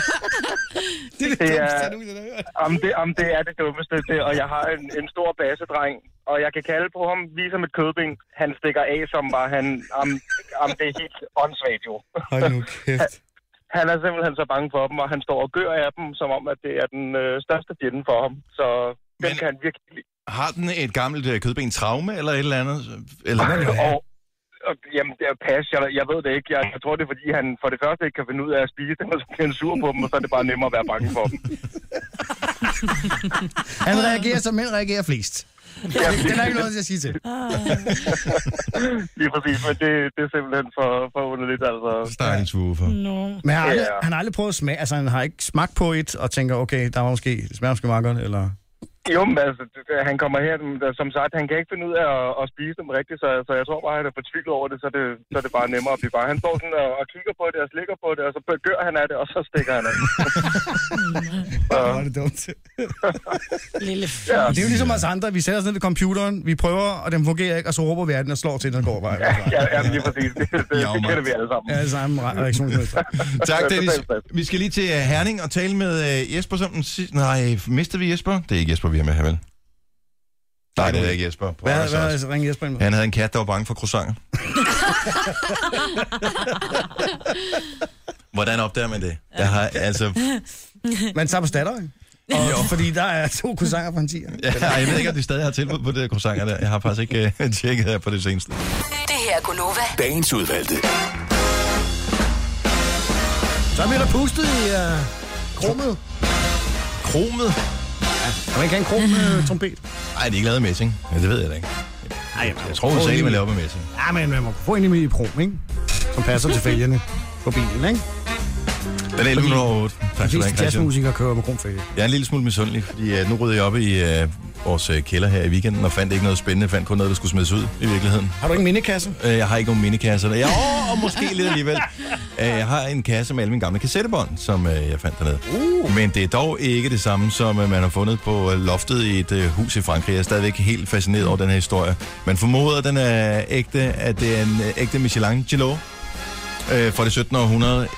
Speaker 15: det er det, dummeste, du har hørt. Om det, om det er det dummeste, det, og jeg har en, en stor basedreng, og jeg kan kalde på ham ligesom et kødbing. Han stikker af, som var han... Om, om det er helt åndssvagt, jo.
Speaker 6: Hold nu kæft.
Speaker 15: Han er simpelthen så bange for dem, og han står og gør af dem, som om, at det er den øh, største fjende for ham. Så den kan han virkelig lide.
Speaker 1: Har den et gammelt øh, kødben traume eller et eller andet? Eller hvad det
Speaker 15: Og, og, jamen, det er pas. Jeg, jeg ved det ikke. Jeg, jeg tror, det er, fordi han for det første ikke kan finde ud af at spise dem, og så bliver han sur på dem, og så er det bare nemmere at være bange for dem.
Speaker 6: Han reagerer, som mænd reagerer flest. Det er der ikke noget, jeg siger til.
Speaker 15: Lige præcis, men det, det er simpelthen for, for underligt, altså.
Speaker 1: Stakkels woofer.
Speaker 6: Men han har, aldrig,
Speaker 15: Ja.
Speaker 6: han har aldrig prøvet at smage, altså han har ikke smagt på et, og tænker, okay, der var måske, det smager måske meget godt, eller...
Speaker 15: Jo, men altså, det- det- han kommer her, men der- som sagt, han kan ikke finde ud af at, at spise dem rigtigt, så, så jeg tror bare, han er fortvivlet over det, så det, så er det bare nemmere at blive bare. Han står sådan og, og kigger på det, og slikker på det, og så gør han af det, og så stikker han af.
Speaker 6: Hvor er det dumt.
Speaker 4: Lille
Speaker 6: Ja. Det er jo ligesom os andre, vi sætter os ned ved computeren, vi prøver, og den fungerer ikke, og så råber vi af den og slår til, den og går bare. Ja,
Speaker 15: ja, ja, lige præcis. Det, det, det, det kender vi alle sammen.
Speaker 6: Ja, samme re- reaktionsmønster.
Speaker 1: Tak, Dennis. Vi skal lige til øh, Herning og tale med øh, Jesper som den sidste... Nej, mister vi Jesper? Det er ikke Jesper, vi har med her, vel? Nej, det er ikke Jesper. På
Speaker 6: Hvad,
Speaker 1: Anders
Speaker 6: hvad
Speaker 1: også.
Speaker 6: altså, ringer Jesper ind med?
Speaker 1: Han havde en kat, der var bange for croissanter. Hvordan opdager man det? Jeg har, altså,
Speaker 6: Man tager på statter, ikke? Og, fordi der er to croissanter på en tiger.
Speaker 1: ja, jeg ved ikke, om de stadig har tilbud på det der croissanter der. Jeg har faktisk øh, ikke uh, tjekket her på det seneste.
Speaker 8: Det her er Gunova.
Speaker 1: Dagens udvalgte.
Speaker 6: Så bliver der pustet i uh, krummet.
Speaker 1: Kromet?
Speaker 6: Ja, kan man ikke have en krum øh, trompet?
Speaker 1: Nej, det er ikke lavet af messing. Ja, det ved jeg da ikke.
Speaker 6: Nej, jeg,
Speaker 1: Jeg tror, hun sagde, at man laver med messing.
Speaker 6: Ja, men man må kunne få en i krum, ikke? Som passer til fælgerne på bilen, ikke?
Speaker 1: Den er 1108. Tak
Speaker 6: De
Speaker 1: skal du have,
Speaker 6: fleste
Speaker 1: Christian.
Speaker 6: jazzmusikere kører med krumfælge.
Speaker 1: Jeg er en lille smule misundelig, fordi uh, nu rydder jeg op i uh, vores øh, kælder her i weekenden og fandt ikke noget spændende. fandt kun noget, der skulle smides ud i virkeligheden.
Speaker 6: Har du ikke en mindekasse?
Speaker 1: Øh, Jeg har ikke nogen minikasser. Jeg, åh, og måske lidt alligevel. Øh, Jeg har en kasse med alle mine gamle kassettebånd, som øh, jeg fandt dernede. Uh. Men det er dog ikke det samme, som øh, man har fundet på øh, loftet i et øh, hus i Frankrig. Jeg er stadigvæk helt fascineret over den her historie. Man formoder, at den er ægte, at det er en øh, ægte Michelangelo øh, fra det 17. århundrede.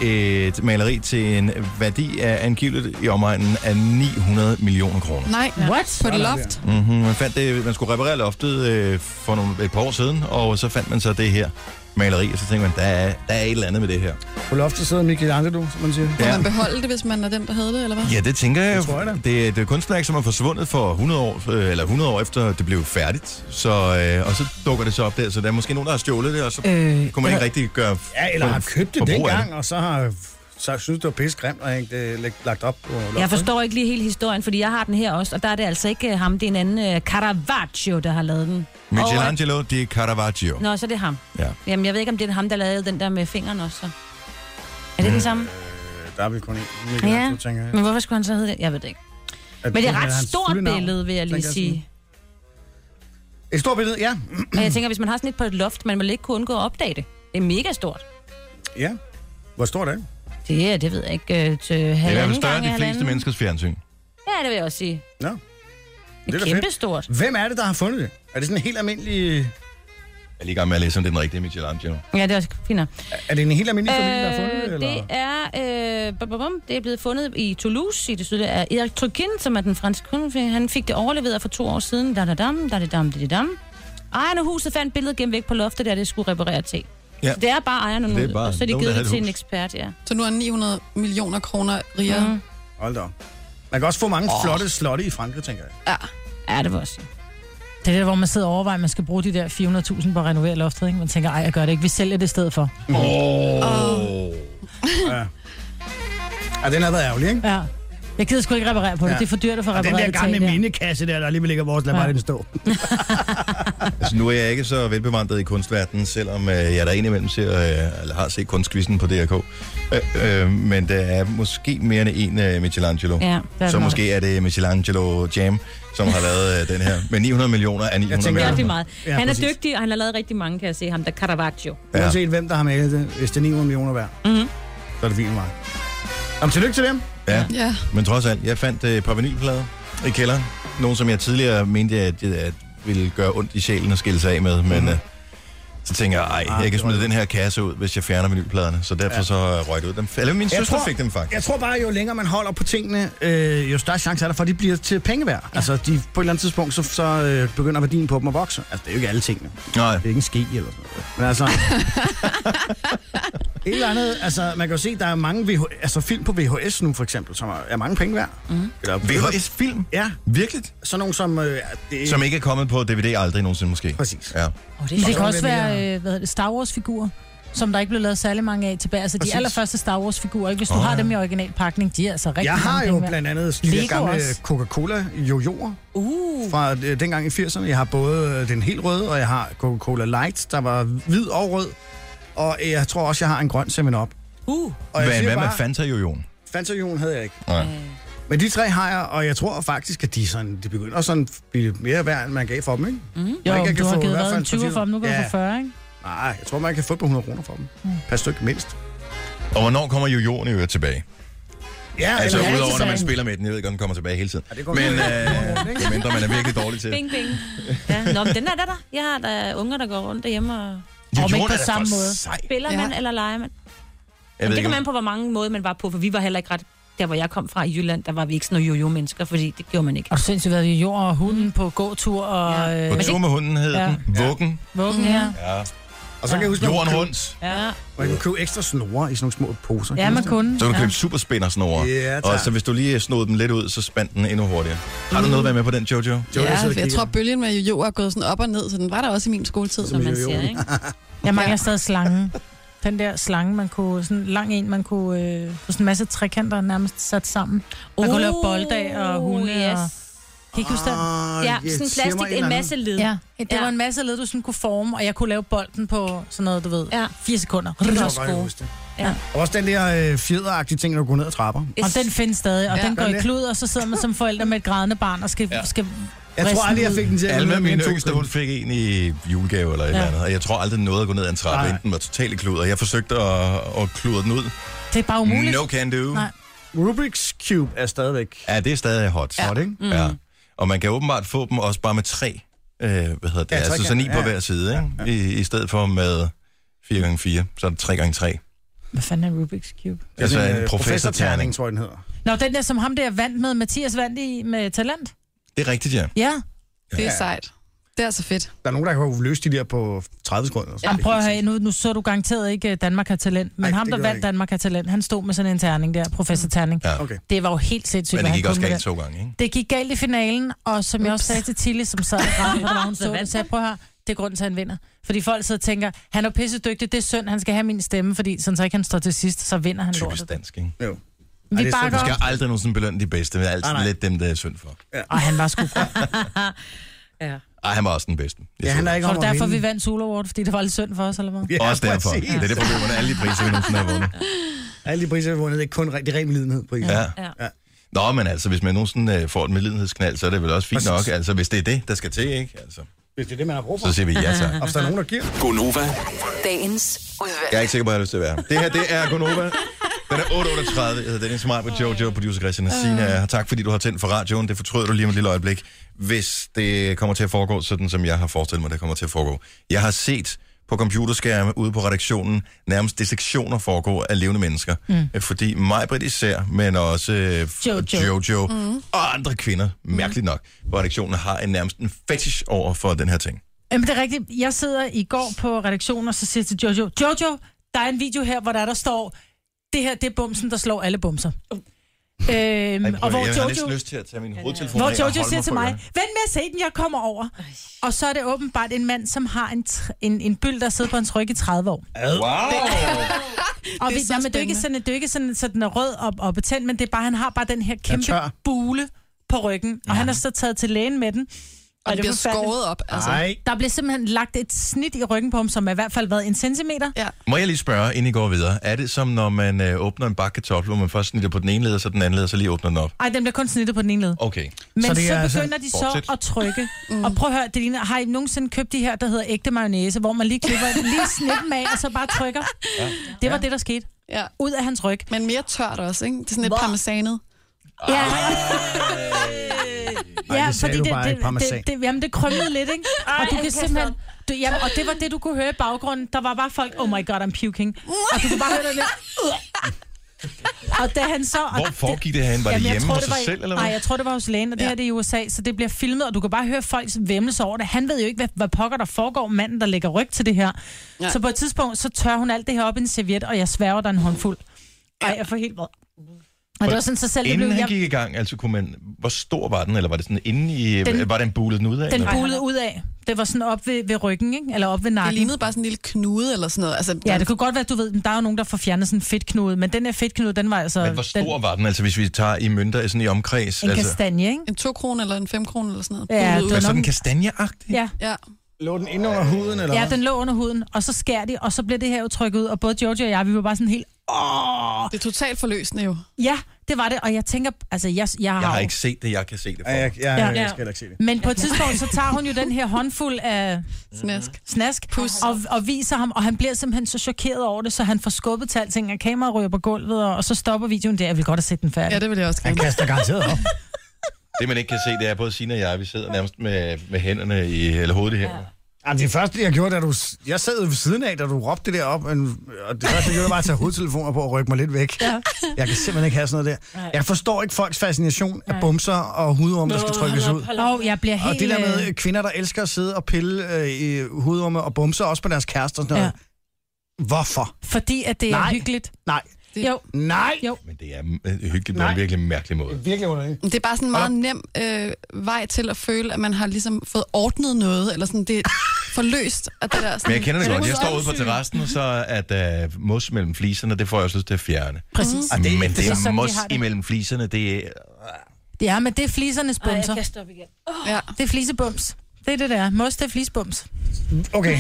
Speaker 1: Et maleri til en værdi af angiveligt i omegnen af 900 millioner kroner.
Speaker 5: Nej, What? på det loft.
Speaker 1: Mm-hmm. Man, fandt det, man skulle reparere loftet øh, for nogle, et par år siden, og så fandt man så det her maleri, og så tænkte man, der er, der er et eller andet med det her.
Speaker 6: På loftet sidder Michelangelo, som man siger.
Speaker 5: Må
Speaker 1: Ja.
Speaker 5: man beholde det, hvis man er den, der havde det, eller hvad?
Speaker 1: Ja, det tænker jeg.
Speaker 6: tror jeg da.
Speaker 1: det, er- det er et kunstværk, som er forsvundet for 100 år, øh, eller 100 år efter det blev færdigt, så, øh, og så dukker det så op der, så der er måske nogen, der har stjålet det, og så øh, kunne man ikke
Speaker 6: eller-
Speaker 1: rigtig gøre
Speaker 6: Ja, eller har købt det
Speaker 1: forbrug af
Speaker 6: dengang, og så har så synes det var pisse grimt, og hængt det læg- lagt op på loftet.
Speaker 3: Jeg forstår ikke lige hele historien, fordi jeg har den her også, og der er det altså ikke øh, ham, det er en anden øh, Caravaggio, der har lavet den.
Speaker 1: Michelangelo di Caravaggio.
Speaker 3: Og, nå, så er det ham.
Speaker 1: Ja.
Speaker 3: Jamen, jeg ved ikke, om det er ham, der lavede den der med fingeren også. så. Er det den samme?
Speaker 6: Øh, Der er vi kun én
Speaker 3: Ja,
Speaker 6: Michelangelo, tænker jeg.
Speaker 3: men hvorfor skulle han så hedde det? Jeg ved det ikke. Men det er et ret
Speaker 6: hans
Speaker 3: stort
Speaker 6: fulde navn,
Speaker 3: billede, vil jeg lige
Speaker 6: tænker
Speaker 3: sige.
Speaker 6: sådan. Et stort billede, ja.
Speaker 3: Og jeg tænker, hvis man har sådan et på et loft, man vil ikke kunne undgå at opdage det. Det er mega stort.
Speaker 6: Ja. Hvor stort er det?
Speaker 3: Det er, det ved jeg ikke, øh, til
Speaker 1: Det er i hvert
Speaker 3: halvanden
Speaker 1: fald større end
Speaker 3: gange
Speaker 1: de fleste
Speaker 3: halvanden.
Speaker 1: menneskers fjernsyn.
Speaker 3: Ja, det vil jeg også sige.
Speaker 6: Nå. Det
Speaker 3: Det er
Speaker 6: da
Speaker 3: kæmpestort.
Speaker 6: fedt. Hvem er det, der har fundet det? Er det sådan en helt almindelig...
Speaker 1: Jeg er lige i gang med at læse, om det er den rigtige Michelangelo.
Speaker 3: Ja, det er også fint. nok.
Speaker 6: Er det en helt almindelig familie, der har fundet det?
Speaker 3: Øh,
Speaker 6: Eller?
Speaker 3: Det er, øh, bum, bum, bum, det er blevet fundet i Toulouse i det sydlige af Erik Trykin, som er den franske kunde. Han fik det overleveret for to år siden. Da da dam, da da dam, da da dam. Ejeren af huset fandt billedet gennem væk på loftet, da det skulle reparere til.
Speaker 1: Ja.
Speaker 3: Ja. Så det er bare ejeren,
Speaker 1: Det er bare
Speaker 3: og så er det
Speaker 1: nogen, der
Speaker 3: givet
Speaker 1: havde
Speaker 3: det
Speaker 1: et
Speaker 3: til en
Speaker 1: hus.
Speaker 3: ekspert, ja.
Speaker 5: Så nu er han 900 millioner kroner rigere.
Speaker 3: Mm.
Speaker 6: Hold da op. Man kan også få mange oh. flotte slotte i Frankrig, tænker jeg.
Speaker 3: Ja, det var også.
Speaker 4: Det er der, hvor man sidder og overvejer, at man skal bruge de der 400.000 på at renovere loftet. Ikke? Man tænker, ej, jeg gør det ikke. Vi sælger det i stedet for.
Speaker 6: Åh. Oh. Ja. ja, den har været ærgerlig, ikke?
Speaker 4: Ja. Jeg gider sgu ikke reparere på det.
Speaker 6: Ja.
Speaker 4: Ja. Det er for dyrt at få
Speaker 6: Og den
Speaker 4: repareret
Speaker 6: der
Speaker 4: det
Speaker 6: gamle
Speaker 4: tag der.
Speaker 6: mindekasse der, der alligevel ligger vores, lad
Speaker 4: Ja.
Speaker 6: bare den stå.
Speaker 1: Altså, nu er jeg ikke så velbevandret i kunstverdenen, selvom øh, jeg der indimellem ser, øh, eller har set kunstkvisten på DRK. Øh, øh, men der er måske mere end en øh, Michelangelo.
Speaker 4: Ja, der er der
Speaker 1: så
Speaker 4: nok.
Speaker 1: måske er det Michelangelo Jam, som har lavet øh, den her. Men 900 millioner er 900
Speaker 3: Det
Speaker 1: millioner.
Speaker 3: er rigtig meget.
Speaker 6: Ja,
Speaker 3: han er
Speaker 6: præcis.
Speaker 3: dygtig, og han har lavet rigtig mange, kan jeg se ham, der Caravaggio.
Speaker 1: Ja.
Speaker 6: Ja. Uanset hvem, der har malet det. Hvis det er 900 millioner værd,
Speaker 3: Mhm.
Speaker 6: så er det fint med mig. Jamen, tillykke til dem.
Speaker 1: Ja.
Speaker 5: Ja.
Speaker 1: Men trods alt, jeg fandt øh, et par vinylplader i kælderen. Nogle, som jeg tidligere mente, at det ville gøre ondt i sjælen at skille sig af med,
Speaker 4: Mhm.
Speaker 1: men... Øh, så tænker jeg,
Speaker 4: Ah,
Speaker 1: ej, jeg kan smide den her kasse ud, hvis jeg fjerner vinylpladerne. Så derfor så øh, røg det ud. Dem, eller min søster fik dem faktisk.
Speaker 6: Jeg tror bare, jo længere man holder på tingene, øh, jo større chance er der for, at de bliver til penge værd. Ja. Altså, de, på et eller andet tidspunkt, så, så øh, begynder værdien på dem at vokse. Altså, det er jo ikke alle tingene.
Speaker 1: Nej.
Speaker 6: Det er ikke en ske eller sådan noget. Men altså... et eller andet, altså, man kan jo se, der er mange VH, altså, film på VHS nu, for eksempel, som er, er mange penge værd.
Speaker 1: Mhm.
Speaker 6: Mm. Eller,
Speaker 1: VHS-film?
Speaker 6: Ja.
Speaker 1: Virkelig?
Speaker 6: Sådan nogle, som... Øh, det,
Speaker 1: Som ikke er kommet på DVD aldrig nogensinde måske.
Speaker 6: Præcis.
Speaker 1: Ja.
Speaker 4: Oh, det, det kan
Speaker 6: sjovt,
Speaker 4: også
Speaker 6: hvem jeg-
Speaker 4: være øh, hvad hedder det, Star Wars-figurer, som der ikke blev lavet særlig mange af tilbage. Altså
Speaker 6: Præcis.
Speaker 4: de allerførste Star Wars-figurer, ikke? hvis du
Speaker 6: Åh,
Speaker 4: oh, har
Speaker 6: ja.
Speaker 4: dem i originalpakning, de er altså rigtig
Speaker 6: Jeg har
Speaker 4: mange
Speaker 6: jo
Speaker 4: penge værd.
Speaker 6: blandt andet de der
Speaker 4: Lego
Speaker 6: gamle
Speaker 4: også.
Speaker 6: Coca-Cola jojoer
Speaker 4: uh.
Speaker 6: fra øh, dengang i 80'erne. Jeg har både øh, den helt røde, og jeg har Coca-Cola Light, der var hvid og rød. Og øh, jeg tror også, jeg har en grøn 7-Up.
Speaker 4: Uh.
Speaker 6: Og jeg
Speaker 1: Hvad,
Speaker 6: siger
Speaker 1: hvad med
Speaker 6: bare-
Speaker 1: Fanta Jojon?
Speaker 6: Fanta Jon havde jeg ikke.
Speaker 1: Nej.
Speaker 6: Men de tre har jeg, og jeg tror faktisk, at de, sådan, de begynder sådan at blive mere værd, end man gav for dem, ikke? Mm.
Speaker 4: Mhm. Jo, du har givet hvad, en 20 for dem, nu kan ja. du få 40, ikke?
Speaker 6: Nej, jeg tror, man kan få på 100 kroner for dem. Mm. Per stykke mindst.
Speaker 1: Og hvornår kommer Jojoen i øvrigt tilbage?
Speaker 6: Ja,
Speaker 1: altså
Speaker 6: eller-
Speaker 1: udover, når man spiller med den. Jeg ved ikke, om den kommer tilbage hele tiden.
Speaker 6: det går
Speaker 1: Men
Speaker 6: med.
Speaker 1: øh, det mindre, man er virkelig dårlig til.
Speaker 3: Bing, bing. Ja, nå, men den er der, der. Jeg har der unger, der går rundt derhjemme og...
Speaker 1: Jojoen
Speaker 4: Og men ikke
Speaker 1: er
Speaker 4: på
Speaker 1: da
Speaker 4: samme
Speaker 1: for
Speaker 4: måde.
Speaker 1: sej.
Speaker 3: Spiller man,
Speaker 5: Ja.
Speaker 3: eller leger
Speaker 1: Jeg
Speaker 3: man? Men
Speaker 1: ved
Speaker 3: det
Speaker 1: ikke,
Speaker 3: kommer
Speaker 1: om-
Speaker 3: an på, hvor mange måder man var på, for vi var heller ikke ret... Der, hvor jeg kom fra i Jylland, der var vi ikke sådan nogle jojo-mennesker, fordi det gjorde man ikke.
Speaker 4: Og du sindssygt været i jord og hunden på gåtur og... Ja.
Speaker 1: På tur med hunden hed
Speaker 4: Ja.
Speaker 1: den. Vuggen.
Speaker 4: Vuggen, ja.
Speaker 1: Ja.
Speaker 6: Og så kan jeg huske,
Speaker 1: Jorden
Speaker 6: man, kunne
Speaker 1: rundt.
Speaker 4: Ja,
Speaker 6: købe, man kunne købe ekstra snore i sådan nogle små poser.
Speaker 4: ja man kunne.
Speaker 1: Så kan du
Speaker 4: ja.
Speaker 1: købe superspindersnore.
Speaker 6: Ja, tak.
Speaker 1: og så hvis du lige snod den lidt ud, så spand den endnu hurtigere. Har du noget at være med på den, Jojo?
Speaker 5: Ja, for jeg tror, bølgen med jojo er gået sådan op og ned, så den var der også i min skoletid.
Speaker 3: Som man siger, ikke?
Speaker 4: Jeg mangler stadig slangen. Den der slange, man kunne, sådan en lang en, man kunne, øh, på sådan en masse trekanter nærmest sat sammen. Man uh, kunne lave bolde af og hunde yes. og... Kan I ikke huske den?
Speaker 3: Ah, Uh, Ja, yes, sådan plastik, sig mig en en eller anden. masse led.
Speaker 4: Ja, det
Speaker 3: Ja.
Speaker 4: var en masse led, du sådan kunne forme, og jeg kunne lave bolden på sådan noget, du ved, ja. fire sekunder.
Speaker 6: Det tror jeg
Speaker 4: Også
Speaker 6: godt, jeg
Speaker 4: gode.
Speaker 6: husker.
Speaker 4: Ja.
Speaker 6: Og også den der øh, fjederagtige ting, når du går ned ad trapper.
Speaker 4: Yes. Og den findes stadig, og
Speaker 6: Ja.
Speaker 4: ja. den går
Speaker 6: Gør
Speaker 4: i
Speaker 6: det.
Speaker 4: klud, og så sidder man som forældre med et grædende barn og skal... Ja. skal
Speaker 6: Jeg tror aldrig, jeg fik den til at
Speaker 1: Alma,
Speaker 6: gå ned
Speaker 1: min
Speaker 6: mere end to
Speaker 1: yngste, hun fik en i julegave eller et
Speaker 4: Ja.
Speaker 1: eller andet, og jeg tror aldrig noget at gå ned ad en trappe,
Speaker 4: Nej.
Speaker 1: enten var totalt kludret. Jeg forsøgte at, at kludre den ud.
Speaker 4: Det er bare umuligt.
Speaker 1: No can do.
Speaker 4: Nej.
Speaker 1: Rubik's Cube er stadigvæk... Ja, det er stadig hot.
Speaker 6: Ja. Hot, ikke?
Speaker 1: Mm. Ja. Og man kan åbenbart få dem også bare med tre, øh, hvad hedder det,
Speaker 6: Ja,
Speaker 1: ja,
Speaker 6: tre
Speaker 1: altså så
Speaker 6: kan-
Speaker 1: ni på
Speaker 6: ja.
Speaker 1: hver side, ikke? I, I stedet for med 4x4, så er det 3x3.
Speaker 4: Hvad fanden er Rubik's Cube?
Speaker 6: Det er
Speaker 1: Altså
Speaker 6: sådan øh,
Speaker 1: en professorterning.
Speaker 6: tror jeg, den hedder.
Speaker 4: Nå, den der, som ham der vandt med, Mathias vandt i med talent.
Speaker 1: Det er rigtigt, ja.
Speaker 4: Ja.
Speaker 5: Det er sejt. Det er altså fedt.
Speaker 6: Der er nogen, der kan jo løse de der på 30 sekunder. eller sådan
Speaker 4: Jamen,
Speaker 6: noget.
Speaker 4: prøv at høre, nu, nu så du garanteret ikke øh, Danmark har talent, men
Speaker 6: Nej,
Speaker 4: Ej, ham,
Speaker 6: det
Speaker 4: der
Speaker 6: gør jeg
Speaker 4: vandt
Speaker 6: ikke.
Speaker 4: Danmark har talent, han stod med sådan en terning der, professor Terning.
Speaker 1: Mm. Ja. Okay.
Speaker 4: Det var jo helt sindssygt,
Speaker 1: Men det
Speaker 4: hvad
Speaker 1: gik
Speaker 4: han
Speaker 1: også
Speaker 4: kunne med
Speaker 1: galt
Speaker 4: den.
Speaker 1: to gange, ikke?
Speaker 4: Det gik galt i finalen, og som Ups. jeg også sagde til Tilly, som sad og græd, hvor der var, hun
Speaker 3: Så
Speaker 4: så, det,
Speaker 3: vandt
Speaker 4: så jeg, prøv at høre, det er grunden til, at han vinder. Fordi folk sidder og tænker, han er pisse dygtig, det er synd, han skal have min stemme, fordi sådan så ikke han står til sidst, så vinder han
Speaker 1: Typisk
Speaker 4: lortet.
Speaker 1: dansk, ikke? Jo.
Speaker 4: Vi Ej, det er bakker
Speaker 1: Du
Speaker 4: synd.
Speaker 1: skal aldrig nogensinde belønne de bedste, men altid
Speaker 4: Nej, nej.
Speaker 1: lidt dem, der er synd for. Ja.
Speaker 4: Og han var sgu god.
Speaker 3: ja.
Speaker 1: Ej, han var også den bedste. Jeg
Speaker 6: Ja,
Speaker 1: så
Speaker 6: han er
Speaker 1: det.
Speaker 6: ikke
Speaker 4: Så
Speaker 6: om
Speaker 4: det
Speaker 6: at
Speaker 4: derfor,
Speaker 6: vinde.
Speaker 4: vi vandt Solo Award, fordi det var lidt synd for os, eller hvad?
Speaker 1: Ja, også derfor.
Speaker 6: præcis.
Speaker 1: Det er det problem, at alle de priser, vi nogensinde har vundet.
Speaker 6: Alle de priser, vi har vundet, det er kun rigtig ren lidenhed på
Speaker 1: Ja.
Speaker 6: ja.
Speaker 1: Nå, men altså, hvis man nogensinde øh, får et medlidenhedsknald, så er det vel også fint nok.
Speaker 6: Præcis.
Speaker 1: Altså, hvis det er det, der skal til, ikke? Altså,
Speaker 6: Hvis det er det, man har brug for.
Speaker 1: så siger vi ja tak.
Speaker 6: Og hvis der er nogen, der giver.
Speaker 1: Gonova.
Speaker 8: Dagens udvalg.
Speaker 1: Jeg er ikke sikker på, at jeg har lyst til at være her. Det her, det er Gonova. Den er 8.38. Jeg hedder Dennis Maj på Jojo, producer Christian Hassine. er her. Tak, fordi du har tændt for radioen. Det fortryder du lige om et lille øjeblik, hvis det kommer til at foregå sådan, som jeg har forestillet mig, det kommer til at foregå. Jeg har set på computerskærme ude på redaktionen nærmest dissektioner foregå af levende mennesker.
Speaker 19: Mm.
Speaker 1: Mm. Fordi Majbrit især, men også øh,
Speaker 19: Jojo.
Speaker 1: Jojo, Jojo
Speaker 19: Mm.
Speaker 1: mm. og andre kvinder, mærkeligt nok, på redaktionen har en nærmest en fetish over for den her ting.
Speaker 4: Jamen, det er rigtigt. Jeg sidder i går på redaktionen, og så siger jeg til Jojo, Jojo, der er en video her, hvor der, der står, det her, det er bumsen, der slår alle bumser. Øhm,
Speaker 1: Ej,
Speaker 4: og hvor
Speaker 1: jeg har næsten
Speaker 4: Jojo,
Speaker 1: lyst til at tage min hovedtelefon af og
Speaker 4: hvor Jojo
Speaker 1: holde
Speaker 4: siger
Speaker 1: mig
Speaker 4: til
Speaker 1: på
Speaker 4: mig,
Speaker 1: ørerne.
Speaker 4: vent med at se den, jeg kommer over. Og så er det åbenbart en mand, som har en, tr- en, en byld, der sidder på hans ryg i 30 år. Og det er, vi, så det er jo ikke sådan, det er jo ikke sådan, så den er rød og, og betændt, men det er bare, han har bare den her kæmpe bule på ryggen, og han er så taget til lægen med den.
Speaker 5: Og den
Speaker 4: det er
Speaker 5: bliver
Speaker 4: forfærdeligt.
Speaker 5: skåret op, altså.
Speaker 1: Ej.
Speaker 4: Der blev simpelthen lagt et snit i ryggen på ham, som er i hvert fald været en centimeter.
Speaker 5: Ja.
Speaker 1: Må jeg lige spørge, inden I går videre, er det som når man øh, åbner en bakke kartoffel, hvor man først snitter på den ene led, og så den anden led, og så lige åbner den op?
Speaker 4: Ej, den bliver kun snittet på den ene led.
Speaker 1: Okay.
Speaker 4: Men så, så begynder de
Speaker 1: Fortsæt.
Speaker 4: så at trykke. Mm. Og prøv at høre, det ligner, har I nogensinde købt de her, der hedder ægte mayonnaise, hvor man lige klipper lige snitten af, og så bare trykker?
Speaker 5: Ja.
Speaker 4: Det var det, der skete.
Speaker 5: Ja.
Speaker 4: Ud af hans ryg.
Speaker 5: Men mere tørt også, ikke? Det er sådan lidt parmesanet.
Speaker 4: Ja.
Speaker 8: Ah.
Speaker 6: Ej, det sagde du bare, ikke parmesan.
Speaker 4: det, det, jamen, det krømmede lidt, ikke? Ej, og du kan simpelthen... Du, jamen, og det var det, du kunne høre i baggrunden. Der var bare folk, oh my god, I'm puking. Og du kunne bare høre det der. Og da han så... og
Speaker 1: Hvor foregik det herinde? Var det
Speaker 4: Jamen, jeg
Speaker 1: hjemme
Speaker 4: tror,
Speaker 1: hos
Speaker 4: det var
Speaker 1: sig
Speaker 4: i-
Speaker 1: selv, eller hvad?
Speaker 4: Nej, jeg tror, det var hos lægen, og det ja. her det er i USA, så det bliver filmet, og du kan bare høre folks væmmelse over det. Han ved jo ikke, hvad, hvad pokker der foregår, manden, der lægger ryg til det her.
Speaker 5: Nej.
Speaker 4: Ja. Så på et tidspunkt, så tør hun alt det her op i en serviet, og jeg sværger, der er en håndfuld. Ej, jeg får helt vred. Og det var sådan, så selv det
Speaker 1: Inden
Speaker 4: blev...
Speaker 1: han
Speaker 4: jeg-
Speaker 1: gik i gang, altså kunne man... Hvor stor var den, eller var det sådan inde i...
Speaker 4: Den-
Speaker 1: Den, var den bulet den ud af?
Speaker 4: Den
Speaker 1: eller?
Speaker 4: bulede ud af. Det var sådan op ved, ved ryggen, ikke? Eller op ved nakken.
Speaker 5: Det lignede bare sådan en lille knude eller sådan noget. Altså,
Speaker 4: Ja, det kunne godt være, du ved, men der er jo nogen, der får fjernet sådan en fedtknude, men den her fedtknude, den var altså...
Speaker 1: Men hvor
Speaker 4: den,
Speaker 1: stor var den, altså hvis vi tager i mønter sådan i omkreds?
Speaker 4: en
Speaker 1: altså,
Speaker 4: kastanje, ikke?
Speaker 5: En 2 kroner eller en 5 kroner eller sådan noget.
Speaker 4: Ja,
Speaker 1: Men sådan
Speaker 4: nok-
Speaker 1: kastanjeagtig?
Speaker 4: Ja.
Speaker 5: ja.
Speaker 6: Lå den inde under huden, eller
Speaker 4: Ja,
Speaker 6: hvad?
Speaker 4: den lå under huden, og så skærer de, og så bliver det her jo trykket ud, og både Jojo og jeg, vi var bare sådan helt... Åh!
Speaker 5: Det er totalt forløsende jo.
Speaker 1: Mhm.
Speaker 4: Ja, det var det, og jeg tænker, altså jeg, jeg,
Speaker 1: Jeg har ikke set det, jeg kan se det for.
Speaker 6: Ja, jeg- jeg-
Speaker 4: jeg skal
Speaker 6: heller ikke se det.
Speaker 4: Men på et tidspunkt, så tager hun jo den her håndfuld af
Speaker 5: snask,
Speaker 4: snask og, og viser ham, og han bliver simpelthen så chokeret over det, så han får skubbet til alting, og kameraet ryger på gulvet, og, og så stopper videoen der. Jeg vil godt have set den færdig.
Speaker 5: Ja, det vil jeg også gerne.
Speaker 6: Han kaster garanteret op.
Speaker 1: Det man ikke kan se, det er både Signe og jeg, vi sidder nærmest med, med hænderne i, eller hovedet i hænderne.
Speaker 6: Jamen, det første, jeg gjorde, da du... Jeg sad ved siden af, da du råbte det der op, men, og det første, jeg gjorde, var at tage hovedtelefoner på og rykke mig lidt væk. Ja. Jeg kan simpelthen ikke have sådan noget der.
Speaker 4: Nej.
Speaker 6: Jeg forstår ikke folks fascination af bumser og hudorme, der skal trykkes ud.
Speaker 4: Og jeg bliver helt...
Speaker 6: Og det der
Speaker 4: øh,
Speaker 6: med kvinder, der elsker at sidde og pille øh, i hudorme og bumser, også på deres kærester og sådan noget. Hvorfor?
Speaker 4: Fordi at det er
Speaker 6: Nej.
Speaker 4: hyggeligt.
Speaker 6: Nej.
Speaker 4: Det... Jo.
Speaker 6: Nej!
Speaker 4: Jo.
Speaker 1: Men det er øh, hyggeligt på en virkelig mærkelig måde.
Speaker 6: Virkelig underligt.
Speaker 5: Det er bare sådan en meget nem øh, vej til at føle, at man har ligesom fået ordnet noget, eller sådan, det er forløst. Og det der, sådan,
Speaker 1: Men jeg kender det godt. Jeg står ude på terrassen, og så at øh, mos mellem fliserne, det får jeg også lyst til at fjerne.
Speaker 4: Præcis.
Speaker 1: Og det,
Speaker 4: Mhm.
Speaker 1: men det,
Speaker 4: Det er
Speaker 1: er
Speaker 4: sådan, de
Speaker 1: mos
Speaker 4: har det.
Speaker 1: imellem fliserne, det er...
Speaker 4: Det er, men det er flisernes
Speaker 3: Ej, jeg
Speaker 4: bumser.
Speaker 3: kaster op igen.
Speaker 4: Oh. Ja. Det er flisebums. Det er det, der. Mos, det er flisebums.
Speaker 6: Okay.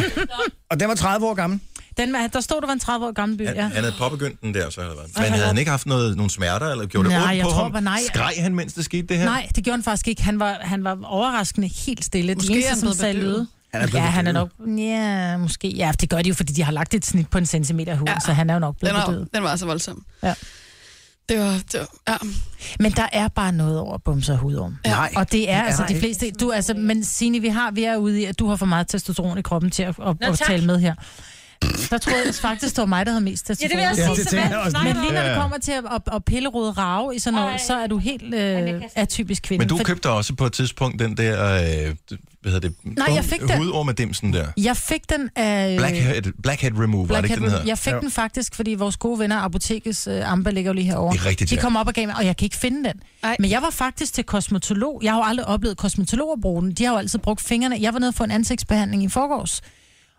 Speaker 6: Og den var 30 år gammel.
Speaker 4: Den, var- der stod, der var en 30 år gammel by,
Speaker 1: Han,
Speaker 4: ja.
Speaker 1: han havde påbegyndt den der, så havde det været.
Speaker 4: Og
Speaker 1: Men
Speaker 4: han
Speaker 1: havde han
Speaker 4: havde-
Speaker 1: ikke haft noget, nogle smerter, eller gjorde
Speaker 4: Nej,
Speaker 1: det ondt
Speaker 4: jeg
Speaker 1: på
Speaker 4: tror
Speaker 1: ham?
Speaker 4: bare, nej.
Speaker 1: Skreg han, mens det skete det her?
Speaker 4: Nej, det gjorde han faktisk ikke. Han var, han var overraskende helt stille.
Speaker 5: Måske
Speaker 4: de
Speaker 5: er
Speaker 4: eneste,
Speaker 5: han
Speaker 4: som
Speaker 5: blevet
Speaker 4: sagde
Speaker 5: bedøvet.
Speaker 4: lyde.
Speaker 5: Han er blevet
Speaker 4: ja, han er nok...
Speaker 5: bedøvet.
Speaker 4: Ja, måske. Ja, det gør de jo, fordi de har lagt et snit på en centimeter i huden, ja. så han er jo nok
Speaker 5: den,
Speaker 4: blevet
Speaker 5: var,
Speaker 4: bedøvet.
Speaker 5: den var altså voldsom.
Speaker 4: Ja.
Speaker 5: Det var, det var ja.
Speaker 4: Men der er bare noget over bumser og hudorm.
Speaker 5: Nej,
Speaker 4: og det er
Speaker 5: det er
Speaker 4: altså
Speaker 5: der
Speaker 4: de
Speaker 5: ikke.
Speaker 4: fleste... Du, er altså, men Signe, vi, har, vi er ude i, at du har for meget testosteron i kroppen til at, at,
Speaker 3: Nå,
Speaker 4: at
Speaker 3: tak.
Speaker 4: tale med her. Der tror jeg faktisk, det var mig, der havde mest
Speaker 3: Ja, det
Speaker 4: testosteron.
Speaker 3: vil jeg sige, så
Speaker 4: tænker
Speaker 3: hvad
Speaker 4: også.
Speaker 3: snakker
Speaker 4: Men
Speaker 3: du
Speaker 4: lige når
Speaker 1: om?
Speaker 4: det
Speaker 1: Ja.
Speaker 4: kommer til at, at, at pille rode rave i sådan noget, så er du helt øh, atypisk kvinde.
Speaker 1: Men du
Speaker 4: fordi-
Speaker 1: købte også på et tidspunkt den der, øh, hvad hedder det?
Speaker 4: Nej, jeg fik den.
Speaker 1: Hudormedimsen der.
Speaker 4: Jeg fik den af...
Speaker 1: Blackhead, Blackhead Remover, Blackhead, er det ikke den hedder?
Speaker 4: Jeg fik den faktisk, fordi vores gode venner, apotekets øh, Amba ligger jo lige herovre.
Speaker 1: Det er rigtigt,
Speaker 4: de
Speaker 1: ja.
Speaker 4: kom op og gav mig, og jeg kan ikke finde den. Ej. Men jeg var faktisk til kosmetolog. Jeg har jo aldrig oplevet kosmetologer bruge den. De har jo altid brugt fingrene. Jeg var nede for en ansigtsbehandling i forgårs.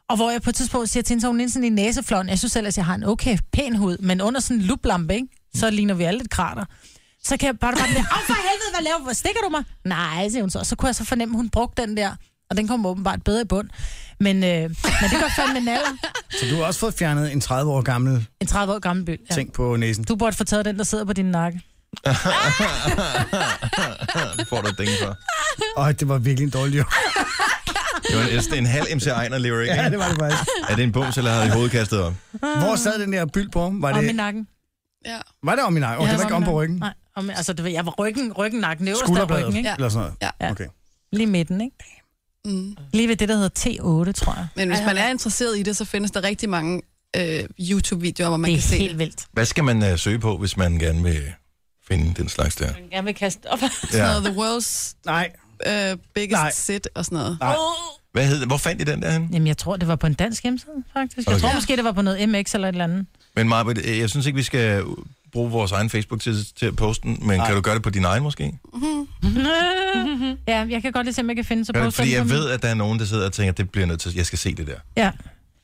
Speaker 4: Og hvor jeg på et tidspunkt siger til hende, så har hun lige sådan i næseflåen. Jeg synes ellers, jeg har en okay pæn hud, men under sådan en luplampe, ikke? så ligner vi alle et krater. Så kan jeg bare, bare blive, "Au, for helvede, hvad laver du? Hvor stikker du mig? Nej, siger hun så. Og så kunne jeg så fornemme, at hun brugte den der. Og den kom åbenbart bedre i bund. Men, øh, men det gør fandme en alder.
Speaker 6: Så du har også fået fjernet en 30 år gammel
Speaker 4: En 30 år gammel bøl. Ja.
Speaker 6: ting på næsen.
Speaker 4: Du burde få taget den, der sidder på din nakke.
Speaker 1: det får du et ding for.
Speaker 6: Øj, det var virkelig en dårlig joke.
Speaker 1: Det var næsten en halv MC Ejner lyric,
Speaker 6: Ja,
Speaker 1: ikke?
Speaker 6: det var det faktisk.
Speaker 1: Er det en bums, eller havde I hovedet kastet op?
Speaker 6: Hvor sad den der byld på? Var
Speaker 4: Om i
Speaker 6: det,
Speaker 4: nakken.
Speaker 5: Ja.
Speaker 6: var det om i nakken? Oh,
Speaker 4: Ja,
Speaker 6: det var
Speaker 4: om
Speaker 6: ikke
Speaker 4: i
Speaker 6: om på
Speaker 4: nakken.
Speaker 6: ryggen?
Speaker 4: Nej, om, altså det var, jeg var ryggen, ryggen, nakken, øverst af
Speaker 6: Skulderbladet?
Speaker 4: ryggen, ikke?
Speaker 6: Eller sådan noget?
Speaker 4: Ja.
Speaker 6: Okay.
Speaker 4: Lige midten, ikke?
Speaker 5: Mm.
Speaker 4: Lige ved det, der hedder T8, tror jeg.
Speaker 5: Men hvis man er interesseret i det, så findes der rigtig mange øh, YouTube-videoer, hvor man
Speaker 4: Det
Speaker 5: kan se
Speaker 4: er helt
Speaker 5: det.
Speaker 4: vildt.
Speaker 1: Hvad skal man øh, søge på, hvis man gerne vil finde den slags der?
Speaker 3: Jeg vil kaste op.
Speaker 5: Sådan
Speaker 1: Ja.
Speaker 5: noget, the world's
Speaker 6: Nej.
Speaker 5: øh, biggest Nej. sit og sådan noget.
Speaker 6: Nej.
Speaker 1: Hvad hed, hvor fandt I den der henne?
Speaker 4: Jamen, jeg tror, det var på en dansk hjemmeside, faktisk. Jeg
Speaker 1: Okay.
Speaker 4: tror måske, det var på noget MX eller et eller andet.
Speaker 1: Men Marbet, øh, jeg synes ikke, vi skal bruge vores egen Facebook til, til at poste den, men Nej. kan du gøre det på din egen måske?
Speaker 4: ja, jeg kan godt lige se, om jeg kan finde så
Speaker 1: Kan du-
Speaker 4: poster
Speaker 1: Fordi
Speaker 4: den
Speaker 1: jeg
Speaker 4: på min-
Speaker 1: ved, at der er nogen, der sidder og tænker, at det bliver jeg nødt til, jeg skal se det der.
Speaker 4: Ja.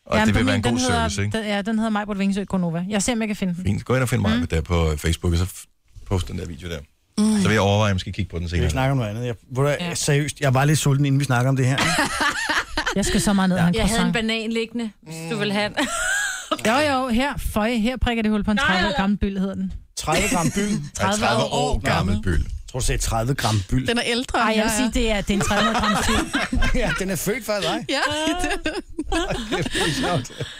Speaker 1: Og det
Speaker 4: men
Speaker 1: vil
Speaker 4: på
Speaker 1: være en
Speaker 4: min,
Speaker 1: god
Speaker 4: den hedder,
Speaker 1: service, ikke?
Speaker 4: Den, ja, den hedder Majbrit Vingsø Konova. Jeg ser, om jeg kan finde den.
Speaker 1: Fint, gå ind og find mig mm. der på øh, Facebook, og så f- post den der video der. Mm. Så vil jeg overveje, om jeg skal kigge på den
Speaker 6: Vi
Speaker 1: senere.
Speaker 6: snakker om noget andet. Jeg, hvor er, ja. Seriøst, jeg var lidt sulten, inden vi snakker om det her.
Speaker 4: Jeg skal så meget ned og have en
Speaker 3: Jeg havde en
Speaker 4: croissant.
Speaker 3: banan liggende, hvis du vil have den.
Speaker 4: Jo, jo, her, føj, her prikker det hul på en 30 år gammel byld, hedder den.
Speaker 6: 30 gram byld.
Speaker 1: 30, 30 år gammel byld.
Speaker 6: Jeg tror, du sagde 30 gram byld.
Speaker 5: Den er ældre.
Speaker 4: Ej, jeg vil
Speaker 5: ja,
Speaker 4: sige, det er, det er en 300 gram syv.
Speaker 6: ja, den er født for dig.
Speaker 5: Ja,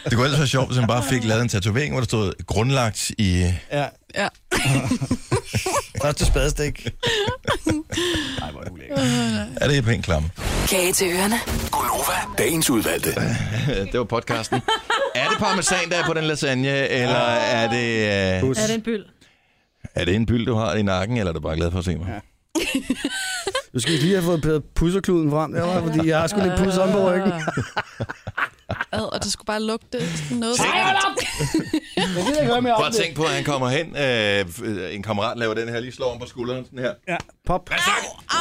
Speaker 1: Det kunne ellers være sjovt, hvis han bare fik lavet en tatovering, hvor der stod grundlagt i...
Speaker 6: Ja.
Speaker 5: ja.
Speaker 6: Første spadestik. Nej, hvor er du lækker.
Speaker 1: Er det pænt klamme?
Speaker 8: Kage til ørerne.
Speaker 19: Gonova, dagens udvalgte.
Speaker 1: det var podcasten. er det parmesan, der er på den lasagne, eller er det... Øh,
Speaker 4: Er det en byld?
Speaker 1: er det en byld, du har i nakken, eller er du bare glad for at se mig?
Speaker 2: Du skal lige have fået p- pusserkluden frem, der, var, fordi jeg har sgu lidt pus om på ryggen.
Speaker 5: Ad, og det skulle bare lugte sådan noget.
Speaker 1: Tænk.
Speaker 5: Ej, hold op!
Speaker 2: Jeg gider ikke høre mere
Speaker 1: Prøv
Speaker 2: om
Speaker 1: at
Speaker 2: det.
Speaker 1: tænke på, at han kommer hen. Øh, en kammerat laver den her, lige slår ham på skulderen. Sådan her.
Speaker 2: Ja, pop.
Speaker 1: Hvad så,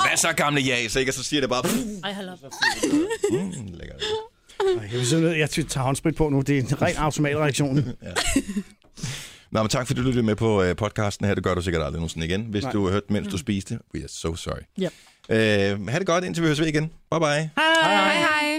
Speaker 1: hvad så gamle jas, ikke? Og så siger det bare...
Speaker 4: Ej, hold op.
Speaker 1: Mm, lækkert.
Speaker 2: Jeg, vil simpelthen, jeg tager håndsprit på nu. Det er en ren automatreaktion.
Speaker 1: Nå, men tak fordi du lyttede med på øh, podcasten her. Det gør du sikkert aldrig nogensinde igen. Hvis
Speaker 2: Nej.
Speaker 1: Nej. du hørte, mens du spiste. We are so sorry.
Speaker 4: Yep.
Speaker 1: Øh, ha' det godt, indtil vi høres ved igen. Bye bye.
Speaker 5: Hej, hej. hej.